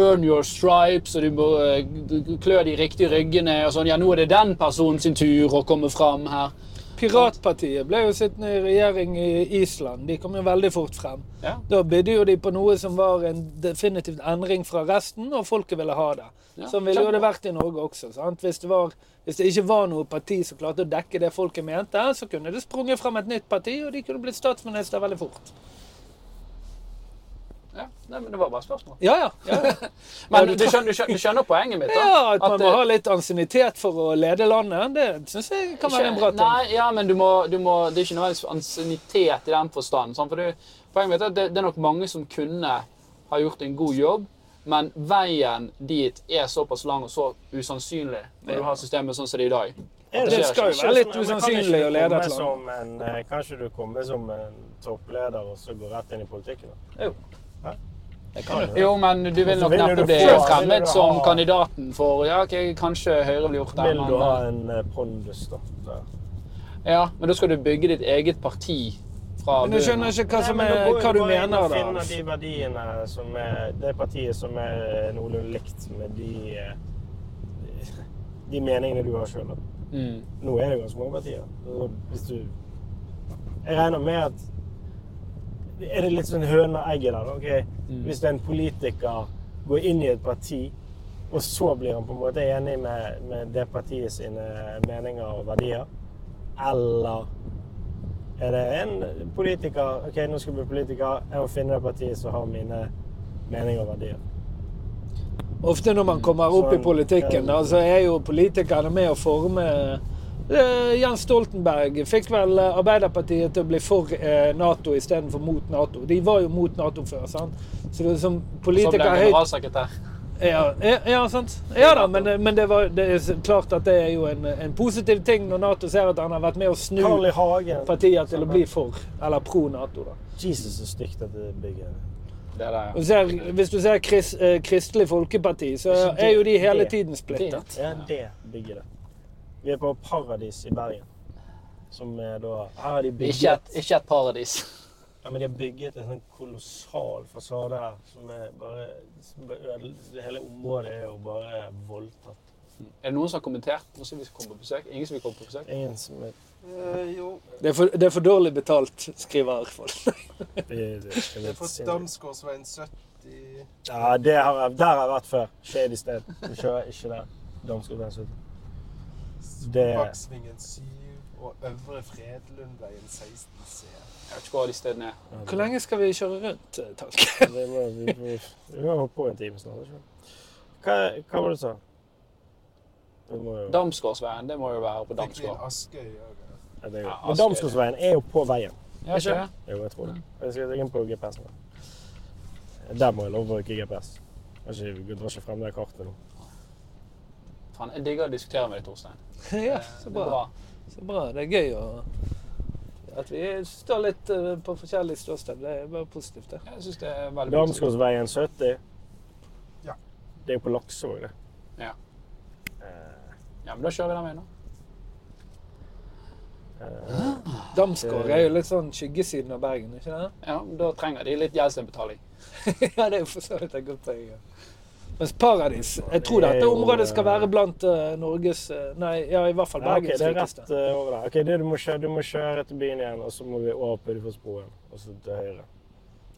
S2: earn your stripes, og du må eh, du- klø de riktige ryggene. og sånn, ja, 'Nå er det den personen sin tur å komme fram her.'
S4: Piratpartiet ble jo sittende i regjering i Island. De kom jo veldig fort frem.
S2: Ja.
S4: Da bydde jo de på noe som var en definitivt endring fra resten, og folket ville ha det.
S2: Ja,
S4: Sånn ville jo det
S2: kjempebra.
S4: vært i Norge også. sant? Hvis det, var, hvis det ikke var noe parti som klarte å dekke det folket mente, så kunne det sprunget frem et nytt parti, og de kunne blitt statsminister veldig fort.
S2: Ja, nei, men Det var bare et spørsmål.
S4: Ja, ja.
S2: Men du skjønner, du skjønner, du skjønner poenget mitt? da?
S4: Ja, At man
S2: eh,
S4: må ha litt ansiennitet for å lede landet, det syns jeg kan være en bra ting.
S2: Nei, ja, men du må, du må, det er ikke nødvendigvis ansiennitet i den forstand. sant? For det, poenget mitt er at det, det er nok mange som kunne ha gjort en god jobb, men veien dit er såpass lang og så usannsynlig når du har systemet sånn som det er i dag.
S3: Er
S2: Det
S4: skal jo
S3: ikke
S4: være
S3: sånn- men
S4: litt
S3: kan ikke
S4: usannsynlig
S3: du
S4: å lede
S3: komme
S4: et land?
S3: som en, eh, Kan ikke du komme som en toppleder og så gå rett inn i politikken? da?
S4: Jo.
S3: Hæ?
S4: Det kan du.
S2: Jo, men du vil nok
S3: Vil du
S2: neppe bli
S3: få- vil
S2: fremmet
S3: du ha-
S2: som kandidaten for Ja, ok, kanskje Høyre ville gjort det,
S3: Vil du ha
S2: men, eh,
S3: en eh, pondus, da? Der.
S2: ja, men da skal du bygge ditt eget parti fra
S4: Men du
S2: bunnen
S4: skjønner
S2: av.
S4: ikke hva, som
S3: Nei, men
S4: er,
S3: da går du
S4: hva du
S3: bare inn
S4: mener,
S3: og finner
S4: da.
S3: de verdiene som er Det partiet som er noenlunde likt med de eh, De meningene du har sjøl.
S2: Mm.
S3: Nå er det ganske mange partier. og Hvis du Jeg regner med at Er det litt sånn høna og egget der? da? Ok,
S4: Mm.
S3: Hvis en politiker går inn i et parti, og så blir han på en måte enig med, med det partiet sine meninger og verdier, eller er det en politiker OK, nå skal jeg bli politiker. Jeg må finne det partiet som har mine meninger og verdier.
S4: Ofte når man kommer opp i
S3: Sånn,
S4: politikken,
S3: ja.
S4: da, så er jo politikerne med å forme Eh, Jens Stoltenberg fikk vel eh, Arbeiderpartiet til å bli for eh, Nato istedenfor mot Nato. De var jo mot Nato før, sant? Så det er som
S2: Så ble
S4: politiker
S2: han
S4: høyt
S2: generalsekretær.
S4: Ja, ja, ja sant. Ja da, men, det- men det, var, det er s- klart at det er jo en, en positiv ting når Nato ser at han har vært med å snu
S3: Carl I. Hagen.
S4: partier til å bli for, eller pro Nato. da.
S3: Jesus, så stygt dette bygget er.
S2: Det er det,
S4: Og ser, hvis du ser Kris- eh, Kristelig Folkeparti, så er jo de hele tiden splittet.
S3: Ja, det bygget der. Vi er på Paradis i Bergen. Som er da Her har de
S2: ja.
S3: bygget
S2: Ikke et, ikke et paradis.
S3: Ja, men de har bygget en sånn kolossal fasade her som er bare som er ødel- Hele området er jo bare voldtatt.
S2: Er det noen som har kommentert? Noen som vil komme på besøk? Ingen som vil komme på besøk?
S3: Ingen som er
S5: Eh, jo,
S4: Det er, for, det er for dårlig betalt, skriver folk.
S5: jeg har fått Damsgårdsveien 70
S3: Ja, det har jeg, der har jeg vært før. Shady sted. Du kjører ikke der. Damsgården 70. Det-
S5: Baksvingen 7 og Øvre Fredlundveien 16C.
S2: Jeg vet ikke hvor alle de stedene er.
S4: Hvor lenge skal vi kjøre rundt, eh, Tank?
S3: Vi må vi- vi- vi må holde på en time snart. ikke sant? Hva, hva var det du sa? Vi må jo-
S2: Damsgårdsveien, det må jo være på
S5: Fikk vi
S2: Damsgård.
S5: inn Askøy òg?
S3: Ja, det er
S2: Ja,
S3: jo- Men
S2: Asker.
S3: Damsgårdsveien er jo på veien.
S2: Ja, ikke det?
S3: Jo, jeg tror det. Jeg skal legge inn på GPS-en. Der må jeg love å bruke GPS. Jeg har ikke- jeg drar ikke frem det kartet nå.
S2: Faen, jeg digger å diskutere med deg, Torstein.
S4: Ja,
S2: Eh,
S4: så
S2: det er
S4: bra. Så bra. Det er gøy å at vi står litt eh, på forskjellig ståsted. Det er bare positivt, det.
S2: Jeg synes det er veldig bra.
S3: Damsgårdsveien 70.
S5: Ja.
S3: Det er jo på Laksevåg, det.
S2: Ja.
S3: Eh,
S2: Ja, men da kjører vi den veien, da.
S3: eh,
S4: Damsgård er jo litt sånn skyggesiden av Bergen, ikke det?
S2: Ja, men da trenger de litt gjeldsbetaling.
S4: ja, det er for så vidt et godt poeng. ja. Mens Paradis Jeg tror dette området skal være blant eh, Norges eh, Nei, ja, i hvert fall
S3: ja, ok,
S4: Bergens
S3: det er
S4: rikeste.
S3: rett eh, over der. Ok, det du, må kjøre, du må kjøre til byen igjen, og så må vi over på Udiforsbroen, og så til høyre.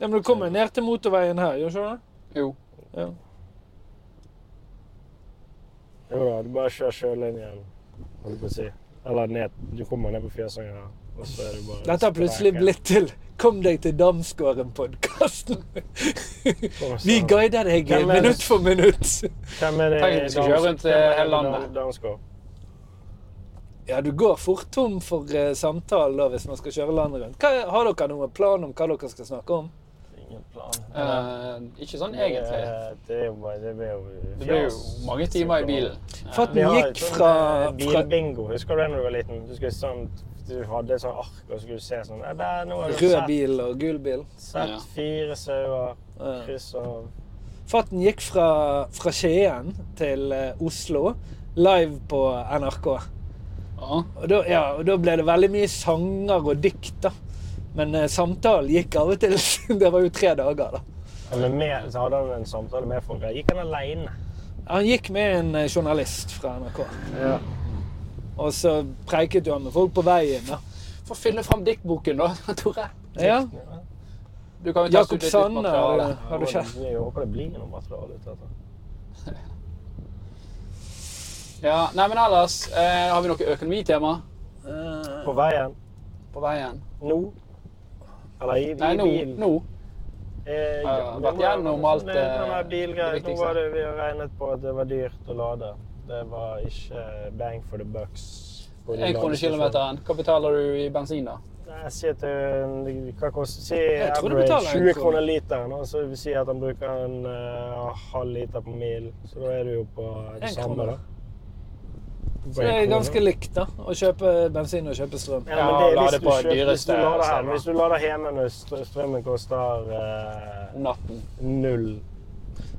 S4: Ja, men du kommer jo ned til motorveien her, gjør du ikke det?
S2: Jo.
S4: Ja.
S3: Jo da, du bare kjører sjølinjen, holdt på å si. Eller ned. Du kommer ned på Fjøsanger her, og så er du bare
S4: Dette har plutselig blitt til Kom deg til Damsgården-podkasten. Vi guider deg eh,
S3: Hvem er det?
S4: minutt for minutt.
S3: Hvem er det?
S2: Tenk at vi skal kjøre rundt, eh, hele landet.
S3: Danskår.
S4: Ja, du går fort tom for eh, samtalen da, hvis man skal kjøre landet rundt. Hva, har dere noen plan om hva dere skal snakke om?
S3: Ingen plan. Eh,
S2: Eh, ikke sånn egentlig.
S3: Det er jo bare Det blir jo
S2: Det blir jo mange timer i bilen.
S4: Fatten
S3: Vi har et
S4: gikk
S3: sånt,
S4: fra,
S3: eh,
S4: fra
S3: Bilbingo. Husker du det når du var liten? Du, skulle sånn, du hadde et sånt ark, og så skulle du se sånn ja, der, nå har du
S4: rød
S3: sett-
S4: bil og gul bil.
S2: Ja.
S3: Sett fire sauer,
S4: Ja.
S3: kryss av
S4: Fatten gikk fra, fra Skien til eh, Oslo live på NRK.
S2: Ja.
S4: Og da, ja, og da ble det veldig mye sanger og dikt, da. Men eh, samtalen gikk av og til. det var jo tre dager, da.
S3: Ja, men med, så hadde han en samtale med folk. Gikk han aleine?
S4: Han gikk med en eh, journalist fra NRK.
S3: Ja.
S4: Og så preiket jo han med folk på veien, da.
S2: Få finne fram diktboken, da, Tore.
S4: Ja,
S2: Du kan jo teste ut
S4: Jakob
S2: litt nytt
S4: Sande har
S2: materiale.
S4: du- har du kjent.
S3: Jeg håper det blir noe materiale ut av dette.
S2: Ja, nei, men ellers, eh, har vi noe økonomitema
S4: Eh,
S3: På veien
S2: på veien?
S3: nå Eller i, i
S2: Nei, nå.
S3: bilen.
S2: nå.
S3: Eh,
S2: Ja,
S3: ja,
S2: vært
S3: nå var-
S2: gjennom alt,
S3: Med den
S2: eh,
S3: der bilgreien,
S2: det
S3: Nå
S2: viktigste.
S3: var det vi har regnet på at det var dyrt å lade. Det var ikke eh, bang for the bucks. på de
S2: Én krone
S3: ladestasjonene.
S2: kilometeren. Hva betaler du i bensin, da?
S3: Nei, Si at det hva koster Si
S4: Jeg tror du
S3: average
S4: betaler en
S3: 20
S4: krone.
S3: kroner literen, og så si at han bruker en eh, halv liter på mil. Så da er du jo på det
S4: En
S3: samme,
S4: krone.
S3: da.
S4: Så det er ganske likt, da. Å kjøpe bensin og kjøpe strøm.
S3: Ja,
S2: Ja,
S3: men det,
S2: la
S3: er
S2: det
S3: hvis, du
S2: på
S3: kjøper, hvis, du
S2: dyreste
S3: lader her,
S2: server.
S3: hvis du lader hjemme når str- strømmen koster eh,
S2: Om natten?
S3: null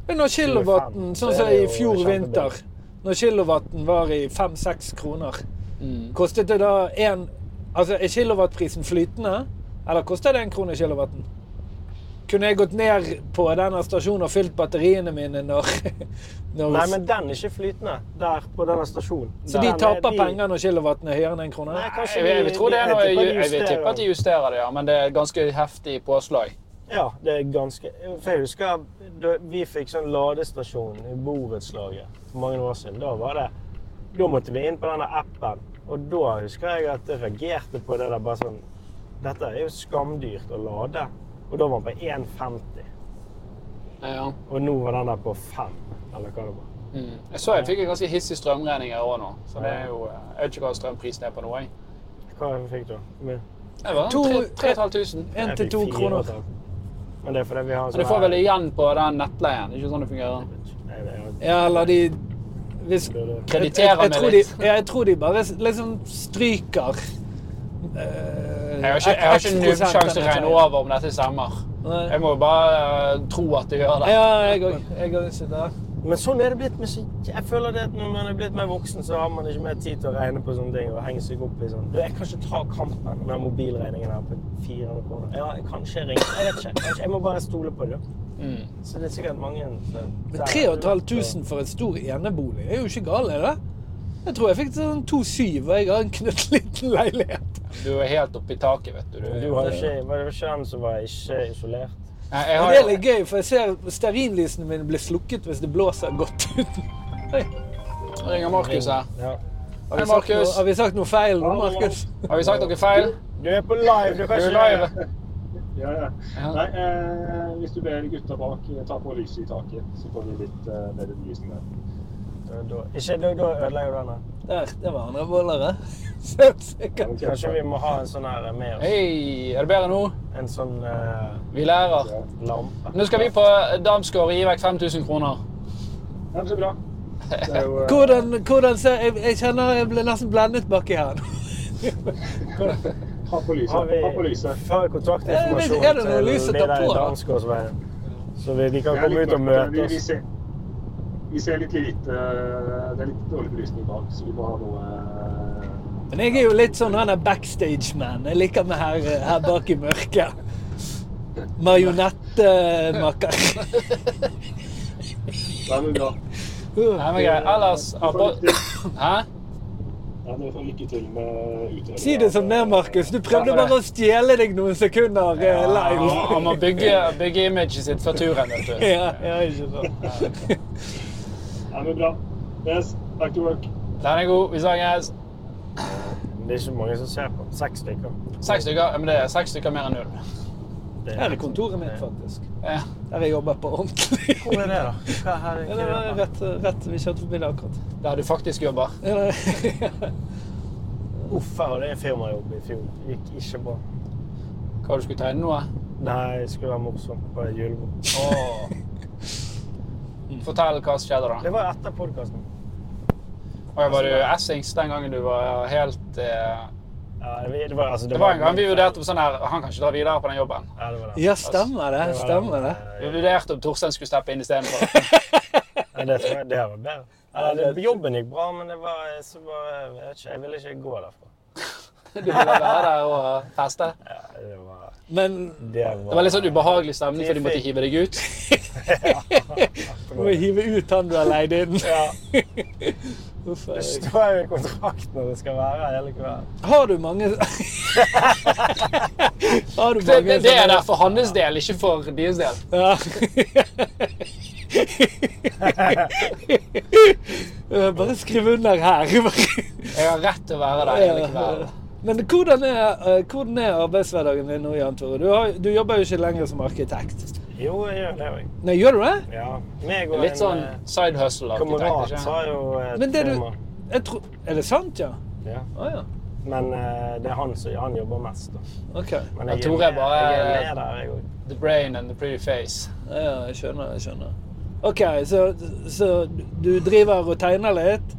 S4: Men når kilowatten, sånn som
S3: Det er
S4: i
S3: jo
S4: fjor
S3: kjempebillig.
S4: vinter Når kilowatten var i 5-6 kroner, kostet det da én Altså, er kilowattprisen flytende? Eller koster det én krone kilowatten? Kunne jeg gått ned på denne stasjonen og fylt batteriene mine når, når
S3: Nei, men den er ikke flytende der på denne stasjonen.
S4: Så de
S3: Den er-
S4: taper
S3: de-
S4: penger når kilowatten er høyere enn én krone?
S3: Nei, kanskje
S2: Jeg, jeg, vil tro det er
S3: de-
S2: noe,
S3: de-
S2: jeg,
S3: de
S2: jeg vil tippe at de
S3: justerer.
S2: justerer det, ja, men det er et ganske heftig påslag.
S3: Ja, det er ganske For jeg husker da vi fikk sånn ladestasjon i borettslaget for mange år siden. Da var det Da måtte vi inn på denne appen, og da husker jeg at jeg reagerte på det der bare sånn Dette er jo skamdyrt å lade. Og da var den på 1,50.
S2: Ja.
S3: Og nå var den der på 5, eller hva det var.
S2: Mm. Jeg så jeg fikk en ganske hissig strømregning her òg nå, så det er jo eh, Jeg vet ikke hva strømprisen er på nå, jeg.
S3: Hva fikk du? Hvor mye?
S2: Det var
S4: To-
S2: 3500.
S4: Én
S3: Jeg
S4: til
S3: fikk
S4: to
S3: fire og
S4: kroner.
S3: et halvt. Men det er fordi vi har sånn
S2: Så du får vel igjen på den nettleien? Det er ikke sånn det fungerer?
S3: her-
S4: Ja, eller de Hvis
S2: Krediterer
S4: jeg, jeg, jeg,
S2: meg
S4: tror
S2: litt.
S4: De, ja, jeg tror de bare liksom stryker eh,
S2: Jeg har ikke, jeg har
S4: X
S2: ikke
S4: prosent
S2: nubbsjanse til å
S4: eller
S2: regne
S4: noe.
S2: over om dette stemmer.
S4: Nei.
S2: Jeg må jo bare eh, tro at det gjør det.
S4: Ja, jeg òg. Jeg òg sitter her.
S3: Men sånn er det blitt. Med, så- jeg føler det at når man er blitt mer voksen, så har man ikke mer tid til å regne på sånne ting og henge seg opp i sånn Du, jeg kan ikke ta kampen med den mobilregningen her på 400 kroner. Ja, jeg kan ikke ringe Jeg vet ikke. Jeg, vet ikke. jeg må bare stole på det.
S2: Mm.
S3: Så det er sikkert mange som-
S4: Men 3500 for en stor enebolig er jo ikke gal, er det? Jeg tror jeg fikk sånn 2,7, og jeg har en knøttliten leilighet.
S2: Du er helt oppi taket, vet du. du,
S3: Du har ikke, var det ikke han som var ikke isolert?
S2: Nei, jeg
S4: Og
S2: har
S4: det er
S2: jo
S4: litt gøy, for jeg ser stearinlysene mine blir slukket hvis det blåser godt ut.
S2: Jeg ringer Markus her.
S3: Ja.
S4: Har vi
S2: Hei,
S4: sagt noe,
S2: Markus.
S4: har vi sagt noe feil nå, Markus?
S2: Har vi sagt noe feil?
S6: Du er på live, du
S2: Er
S6: kan
S2: du
S6: ikke
S2: live?
S6: Ja, ja.
S2: Ja.
S6: Nei, eh, hvis du ber gutta bak eh, ta på lyset i taket, så får vi litt eh, bedre belysning der.
S3: Da, da, ikke, da, da ødelegger du denne.
S4: Der, det var andre bollere. Sikkert.
S6: Ok,
S3: Kanskje vi må ha en sånn her med oss.
S2: Hei, er det bedre nå?
S3: En sånn eh,
S2: Vi lærer.
S6: Ja.
S3: lampe.
S2: Nå skal vi på Damsgård og gi vekk 5000 kroner.
S6: Ja, men så bra. Det er jo, eh,
S4: Hvordan, hvordan ser jeg, jeg kjenner jeg ble nesten blendet baki her.
S6: ha på lyset.
S3: Har vi,
S6: Ha på lyset.
S3: har vi kontaktinformasjon
S4: Er det noe lys å ta på, da?
S3: Dansgårdsveien? Så vi, de
S6: Det
S3: kan
S6: er
S3: komme
S6: litt
S3: ut og
S6: mørkt, men
S3: møte
S6: Vi, vi,
S3: oss.
S6: ser, vi ser litt lite eh, Det er litt dårlig belysning bak, så vi må ha noe eh,
S4: Men jeg er jo litt sånn han er backstage-man. Jeg liker meg her, her bak i mørket. Marionettemaker.
S6: Nei, men bra.
S2: Nei, men greit. Ellers
S6: Du får
S2: apro-
S6: lykke-
S2: Hæ?
S6: Ja, dere får lykke til med utredningen.
S4: Si det som det er, Markus. Du prøvde bare å stjele deg noen sekunder eh,
S2: Han må- han
S4: live.
S2: må bygge, bygge imaget sitt før turen, vet du.
S4: Ja, ja, ikke sant.
S6: Nei, men bra. Yes, back to work.
S2: Den er god. Vi snakkes.
S3: Det er ikke mange som ser på. Seks stykker.
S2: Seks stykker. Ja, Men det er seks stykker mer enn null.
S3: Det
S4: Her er kontoret mitt, faktisk.
S2: Ja.
S4: Der jeg jobber på ordentlig.
S3: Hvor er det, da? Hva her
S4: Ja, det var rett, rett vi kjørte forbi det akkurat.
S2: Der du faktisk jobber.
S4: Ja, det-
S3: Uff, jeg hadde en firmajobb i fjor. Gikk ikke bra.
S2: Hva du skulle tegne nå? eh?
S3: Nei, det skulle være morsomt på et julebord.
S2: Åh. Fortell hva som skjedde da.
S3: Det var etter podkasten.
S2: Oi, var du essings den gangen du var helt eh...
S3: Ja, det var, altså,
S2: Det var en gang vi vurderte på sånn her Han kan ikke dra videre på den jobben.
S3: Ja, det var det.
S4: Ja, stemmer det. Stemmer det.
S2: Vi vurderte om Torstein skulle steppe inn istedenfor.
S3: Nei, det tror jeg det var bedre. Ja, det, jobben gikk bra, men det var, så var jeg, vet ikke, jeg ville ikke gå derfra.
S2: Du ville være der og eh, feste.
S3: Ja, det var,
S4: Men
S3: det var,
S2: Det var litt sånn ubehagelig stemning, for de måtte hive deg ut.
S4: du må hive ut han du har leid inn.
S3: Ja,
S4: Uff,
S3: det
S4: jeg-
S3: står jo i kontrakten når det skal være hele kvelden.
S4: Har du mange Har du
S2: Det,
S4: mange
S2: det, det er der for hans del, ikke for deres del.
S4: Ja. Eh, Bare skriv under her.
S2: Jeg har rett til å være der hele kvelden.
S4: Men hvordan er, eh, hvordan er arbeidshverdagen din nå, Jan Tore? Du, har, du jobber jo ikke lenger som arkitekt.
S3: Jo, jeg gjør det òg.
S4: Nei, gjør du det?
S3: Ja. Meg og
S2: Litt sånn
S3: en eh,
S2: side hustle-arkitekt.
S3: kamerat
S2: ikke?
S3: har jo et
S4: Men det du-
S3: firma.
S4: Jeg tror, er det sant, ja?
S3: Ja.
S4: Å ja.
S3: Men eh, det er han som han jobber mest, da.
S4: OK.
S3: Men
S2: Ja, Tore er
S3: med-
S2: bare-
S3: jeg er med der, jeg òg.
S2: The brain and the pretty face.
S4: Ja, ja, jeg skjønner, jeg skjønner. OK, så, så du driver og tegner litt.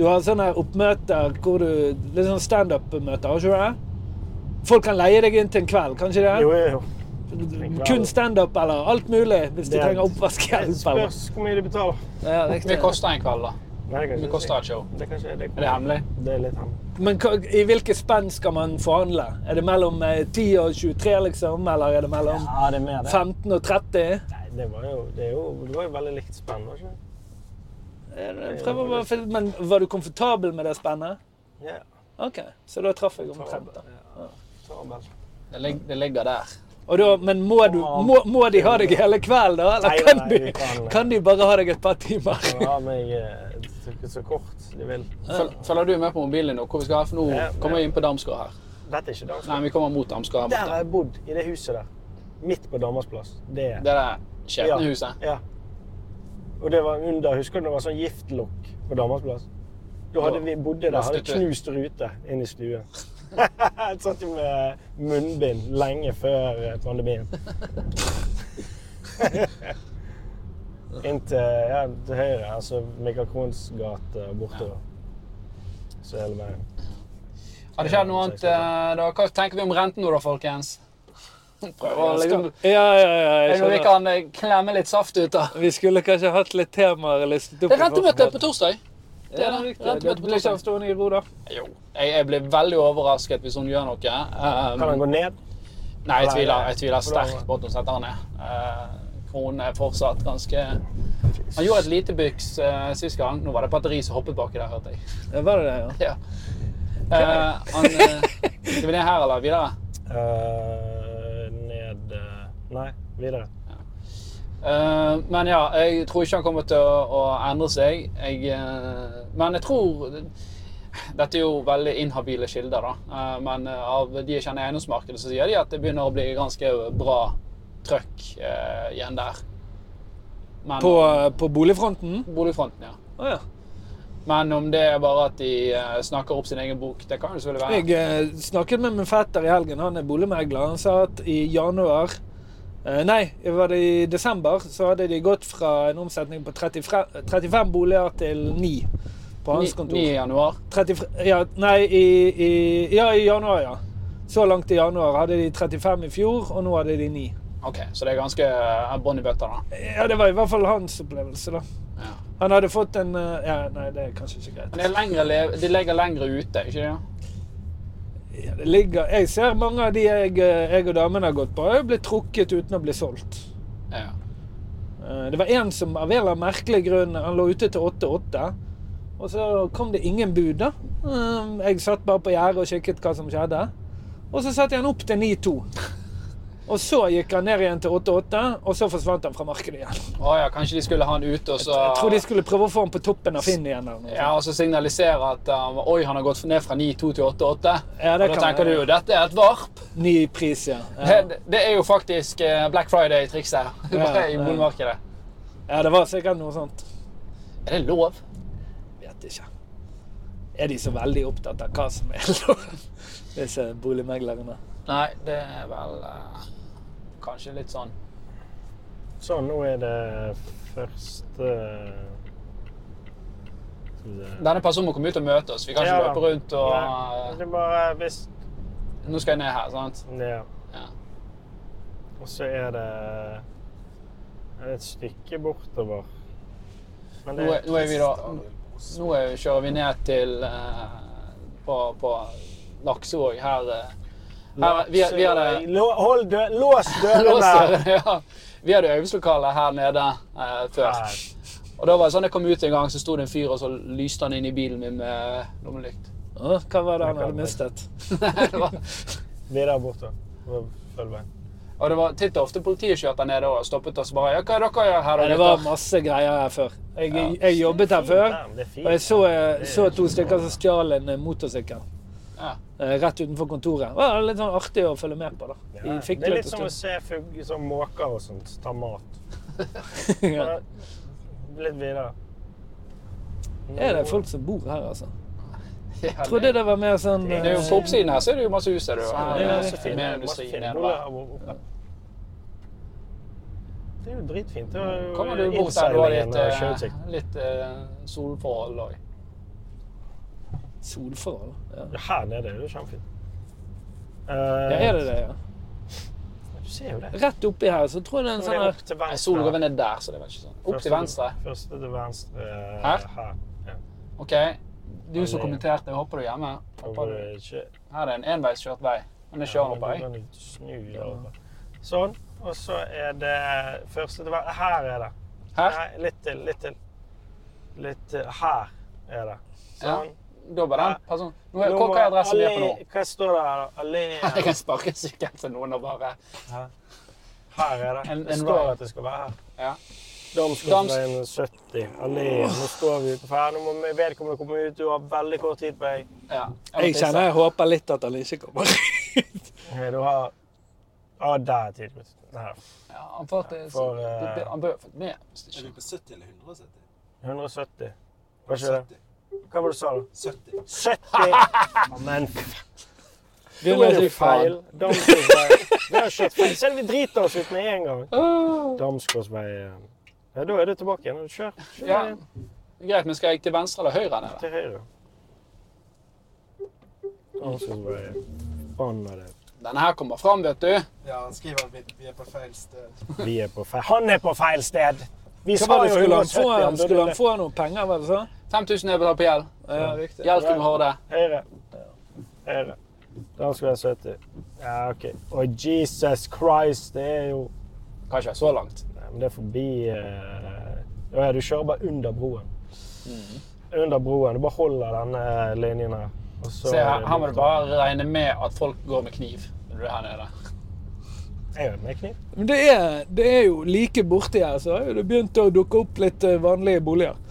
S4: Du har sånne her oppmøter hvor du Litt sånn standup-møter, har ikke du det? Folk kan leie deg inn til en kveld, kan ikke
S3: Jo,
S4: det?
S3: jo, jo.
S4: Kun standup eller alt mulig, hvis de
S3: Det er-
S4: trenger oppvaskhjelp. eller-
S3: Spørs hvor mye de betaler.
S4: Ja,
S2: Hvor mye
S4: riktig.
S2: koster en kveld, da?
S3: Nei, det
S2: Hvor
S3: kan jeg
S2: mye
S3: ikke si.
S2: koster et show?
S3: Det kan ikke- det-
S2: Er det hemmelig?
S3: Det er litt hemmelig.
S4: Men hva- i hvilke spenn skal man forhandle? Er det mellom eh, 10 og 23, liksom? Eller er det mellom
S3: Ja, det er mer det.
S4: 15 og 30?
S3: Nei, det var jo, det er jo, det var jo veldig likt spenn, var det ikke det?
S4: Jeg prøver bare å finne Men var du komfortabel med det spennet?
S3: Ja.
S4: OK, så da traff jeg omtrent, da.
S3: Tabel.
S2: Det, lig det ligger der.
S4: Og da, men må, du, må, må de ha deg hele kvelden, da? Eller
S3: Nei,
S4: kan,
S3: nei, vi
S4: du,
S3: kan-
S4: kan de bare ha deg et par timer?
S3: De har meg eh, trykket så kort de vil.
S2: Føl følger du med på mobilen din nå? Hvor vi skal, for nå
S3: Ja,
S2: kommer
S3: ja.
S2: vi inn på Damsgård her.
S3: Dette er ikke Damsplass.
S2: Nei, vi kommer mot Damsgård.
S3: Der
S2: her borte.
S3: har jeg bodd, i det huset der. Midt på Damersplass. Det er
S2: Det der skjebnehuset.
S3: Ja. Og det var under, husker du det var sånn giftlokk på Damersplass? Da hadde vi bodde der, hadde
S2: Lastet du?
S3: knust rute inn i stuen. Jeg satt jo med munnbind lenge før eh, pandemien. Inntil ja, til høyre, altså Michael Krohns gate og bortover. Så hele veien.
S2: Har det skjedd noe annet? eh, da? Hva tenker vi om renten nå, da, folkens? Prøver å liksom
S4: Ja, ja, ja, jeg
S2: Noe vi
S4: skjønner.
S2: kan eh, klemme litt saft ut av.
S4: Vi skulle kanskje hatt litt temaer listet opp.
S2: Det er rentemøte på torsdag. Det
S4: Ja,
S2: er det.
S4: riktig.
S2: Rentemøte
S4: Det
S2: på
S4: blir ikke
S2: torsdag.
S4: stående i ro, da.
S2: Jo. Jeg, jeg blir veldig overrasket hvis hun gjør noe. Um,
S3: Kan han gå ned?
S2: nei, jeg
S3: Nei,
S2: tviler,
S3: nei.
S2: jeg tviler sterkt på at hun setter han ned. Uh, kronen er fortsatt ganske Han gjorde et lite byks uh, sist gang. Nå var det batteri som hoppet baki der, hørte jeg.
S4: Ja, Var det det, ja?
S2: Ja. Eh, han, eh, skal vi ned her eller videre?
S3: Eh, ned eh, Nei, videre.
S2: Eh, men ja, jeg tror ikke han kommer til å, å endre seg. Jeg, eh, men jeg tror Dette er jo veldig inhabile kilder, da. Eh, men eh, av de jeg kjenner i eiendomsmarkedet, så sier de at det begynner å bli ganske bra trøkk eh, igjen der. Men, eh,
S4: På, på boligfronten?
S2: boligfronten, ja.
S4: Å ja.
S2: Men om det er bare at de eh, snakker opp sin egen bok, det kan jo selvfølgelig være.
S4: Jeg eh, snakket med min fetter i helgen. Han er boligmegler. Han sa at i januar eh, Nei, var det i desember så hadde de gått fra en omsetning på 35, 35 boliger til 9 på hans
S2: Ni- 9.
S4: kontor.
S2: januar.
S4: 35, ja, nei, i, i, ja, i januar, ja. Så langt i januar hadde de 35 i fjor, og nå hadde de 9.
S2: Ok, Så det er ganske eh, bånn i bøtta, da.
S4: Ja, det var i hvert fall hans opplevelse, da.
S2: Ja.
S4: Han hadde fått en eh, Ja, nei, det er kanskje ikke greit.
S2: Men det er lengre le- de ligger lengre ute, ikke det?
S4: Ja, det ligger, jeg ser mange av de jeg, eh, jeg og damene har gått på, har jo blitt trukket uten å bli solgt.
S2: Ja.
S4: Eh, Det var en som av en eller annen merkelig grunn han lå ute til 8-8. Og så kom det ingen bud, da. Eh, Jeg satt bare på gjerdet og kikket hva som skjedde. Og så satte jeg han opp til 9-2. Og så gikk han ned igjen til 8-8, og så forsvant han fra markedet igjen.
S2: Å ja, kanskje de skulle ha han ute og så
S4: Jeg tror de skulle prøve å få han på toppen av Finn igjen. eller noe sånt.
S2: ja, og så signalisere at um, oi, han har gått ned fra 9,2 til 8,8.
S4: Ja,
S2: og
S4: det
S2: da
S4: kan
S2: tenker
S4: være.
S2: du jo dette er et varp.
S4: Ny pris, ja. ja.
S2: Det, det er jo faktisk eh, Black Friday-trikset
S4: Ja,
S2: i
S4: ja.
S2: boligmarkedet.
S4: Ja, det var sikkert noe sånt.
S2: Er det lov?
S4: Vet ikke. Er de så veldig opptatt av hva som er lov? Disse boligmeglerne.
S2: Nei, det er vel eh, kanskje litt sånn
S3: Sånn, nå er det første Skal vi se.
S2: Denne personen må komme ut og møte oss. Vi kan ikke
S3: Ja, da.
S2: løpe rundt og
S3: Nei,
S2: eh,
S3: det er bare hvis
S2: Nå skal jeg ned her, sant?
S3: Ja.
S2: Ja.
S3: Og så er det et stykke bortover. Men
S2: Nå er, nå er vi da Nå er, kjører vi ned til eh, på, på Laksevåg her. eh. her vi, vi hadde
S3: Lå- Hold dø lås dørene!
S2: ja, Vi hadde øvingslokale her nede eh, før.
S3: Her.
S2: Og da var det sånn jeg kom ut en gang, så sto det en fyr, og så lyste han inn i bilen min med lommelykt.
S4: Å, hva var det han hadde mistet?
S2: Det var-
S3: Videre bortover. Følg meg.
S2: og det var titt og ofte politiet kjørte ned og stoppet oss og bare Ja, hva er det dere gjør her?
S4: Ja,
S2: da,
S4: det var
S2: gutter?»
S4: masse greier her før. Jeg, jeg jobbet her før,
S3: Det er fint.
S4: og jeg så, eh, så to stykker som stjal en eh, motorsykkel.
S2: Ja.
S4: eh, Rett utenfor kontoret. Det var litt sånn artig å følge med på. da.
S3: Ja,
S4: Vi fikk
S3: det er
S4: det
S3: litt
S4: på
S3: som å
S4: stund.
S3: se fugg, som måker og sånt ta mat.
S4: Ja.
S3: Litt videre.
S4: Er det folk som bor her, altså?
S2: Ja,
S4: Trodde
S2: det,
S4: det var mer sånn
S2: det er jo På
S4: eh,
S2: oppsiden her så er det jo masse hus. Er det, jo.
S3: Ja,
S2: Her
S3: det
S2: er
S3: er så fint.
S2: mer
S3: Masse
S2: industri
S3: fine
S2: nedover.
S3: boliger oppe. Det er jo dritfint. Det er jo
S2: Kommer du bort der du har litt,
S3: innseilingen og
S2: eh,
S3: sjøutsikt.
S2: litt eh, solforhold òg.
S4: solforhold? Ja.
S3: Ja, Her nede er det jo kjempefint. Eh,
S4: ja, er det det? ja?
S3: Du ser jo det.
S4: Rett oppi her så tror jeg det er en
S3: Så det
S4: sånn
S3: er
S4: her
S3: opp til
S2: Nei,
S3: venstre.
S2: Solen går vel ned der, så det er vel ikke sånn. Opp til venstre.
S3: Første til venstre eh,
S2: Her?
S3: her. Ja.
S2: OK. Du som kommenterte, jeg håper du er hjemme. Håper du.
S3: Kommer ikke
S2: Her er det en enveiskjørt vei. Men det kjører på ei.
S3: Ja, men du kan jo snu deg over. Sånn. Og så er det første til venstre. Her er det.
S2: Her.
S3: Nei, litt til. Litt til. Litt til. Her er det. Sånn.
S2: Da var den personen. Nå er,
S3: Nå
S2: hva,
S3: må
S2: hva er adressen vi er på nå?
S3: alle- Hva står det her, da? Allé
S2: Jeg kan sparke sykkelen til noen og bare
S3: Her er det.
S2: En-
S3: Det
S2: en
S3: står
S2: ride.
S3: at det skal være her.
S2: Ja.
S3: Damsgårdsveien 70. Allé. Nå står vi utenfor her. Nå må vi- vedkommende komme ut. Du har veldig kort tid på deg.
S2: ja. må
S4: Jeg
S2: tisse.
S4: kjenner jeg håper litt at han ikke kommer.
S3: Ja, Du har Ja, der er tid. Her.
S2: Ja, han får til
S3: For, eh,
S2: det- det- Han bør fått med. hvis
S5: Er vi
S2: ikke-
S5: på 70 eller 170?
S3: 170. Var ikke det?
S5: 70.
S3: Hva var det du sa, da?
S5: 70.
S3: 70! Men
S4: Vi
S3: nå er det
S4: litt faen.
S3: feil. Damsgårdsveien. Vi har kjørt feil. Selv vi driter oss ut med en gang.
S4: Ah.
S3: Damsgårdsveien. Ja, da er du tilbake igjen. Kjør, kjør
S2: Ja.
S3: igjen
S2: Greit, men skal jeg til venstre eller høyre nede?
S3: til høyre. Damsgårdsveien. Forbanna det.
S2: Denne her kommer fram, vet du.
S5: Ja, han skriver at vi, vi er på feil sted.
S3: Vi er på feil. Han er på feil sted! Vi
S4: Hva var det,
S3: jo
S4: skulle han
S3: 170,
S4: få,
S3: da
S4: skulle
S3: blir
S4: han få noen penger, var det sånn? så?
S2: 5000 er betalt på gjeld.
S4: Ja, riktig.
S2: Hjelp med Horde.
S3: det Høyre. Høyre. Da skulle jeg 70. Ja, OK. Og Jesus Christ, det er jo
S2: Kanskje så langt.
S3: Nei, men det er forbi eh, Å ja, du kjører bare under broen.
S4: Mm.
S3: Under broen. Du bare holder denne linjen her. og så
S2: Se
S3: er
S2: her,
S3: det
S2: her må du
S3: borte.
S2: bare regne med at folk går med kniv. Når du er her nede.
S3: Jeg er med kniv.
S4: Men det er, det er jo like borti her, så har jo det begynt å dukke opp litt eh, vanlige boliger.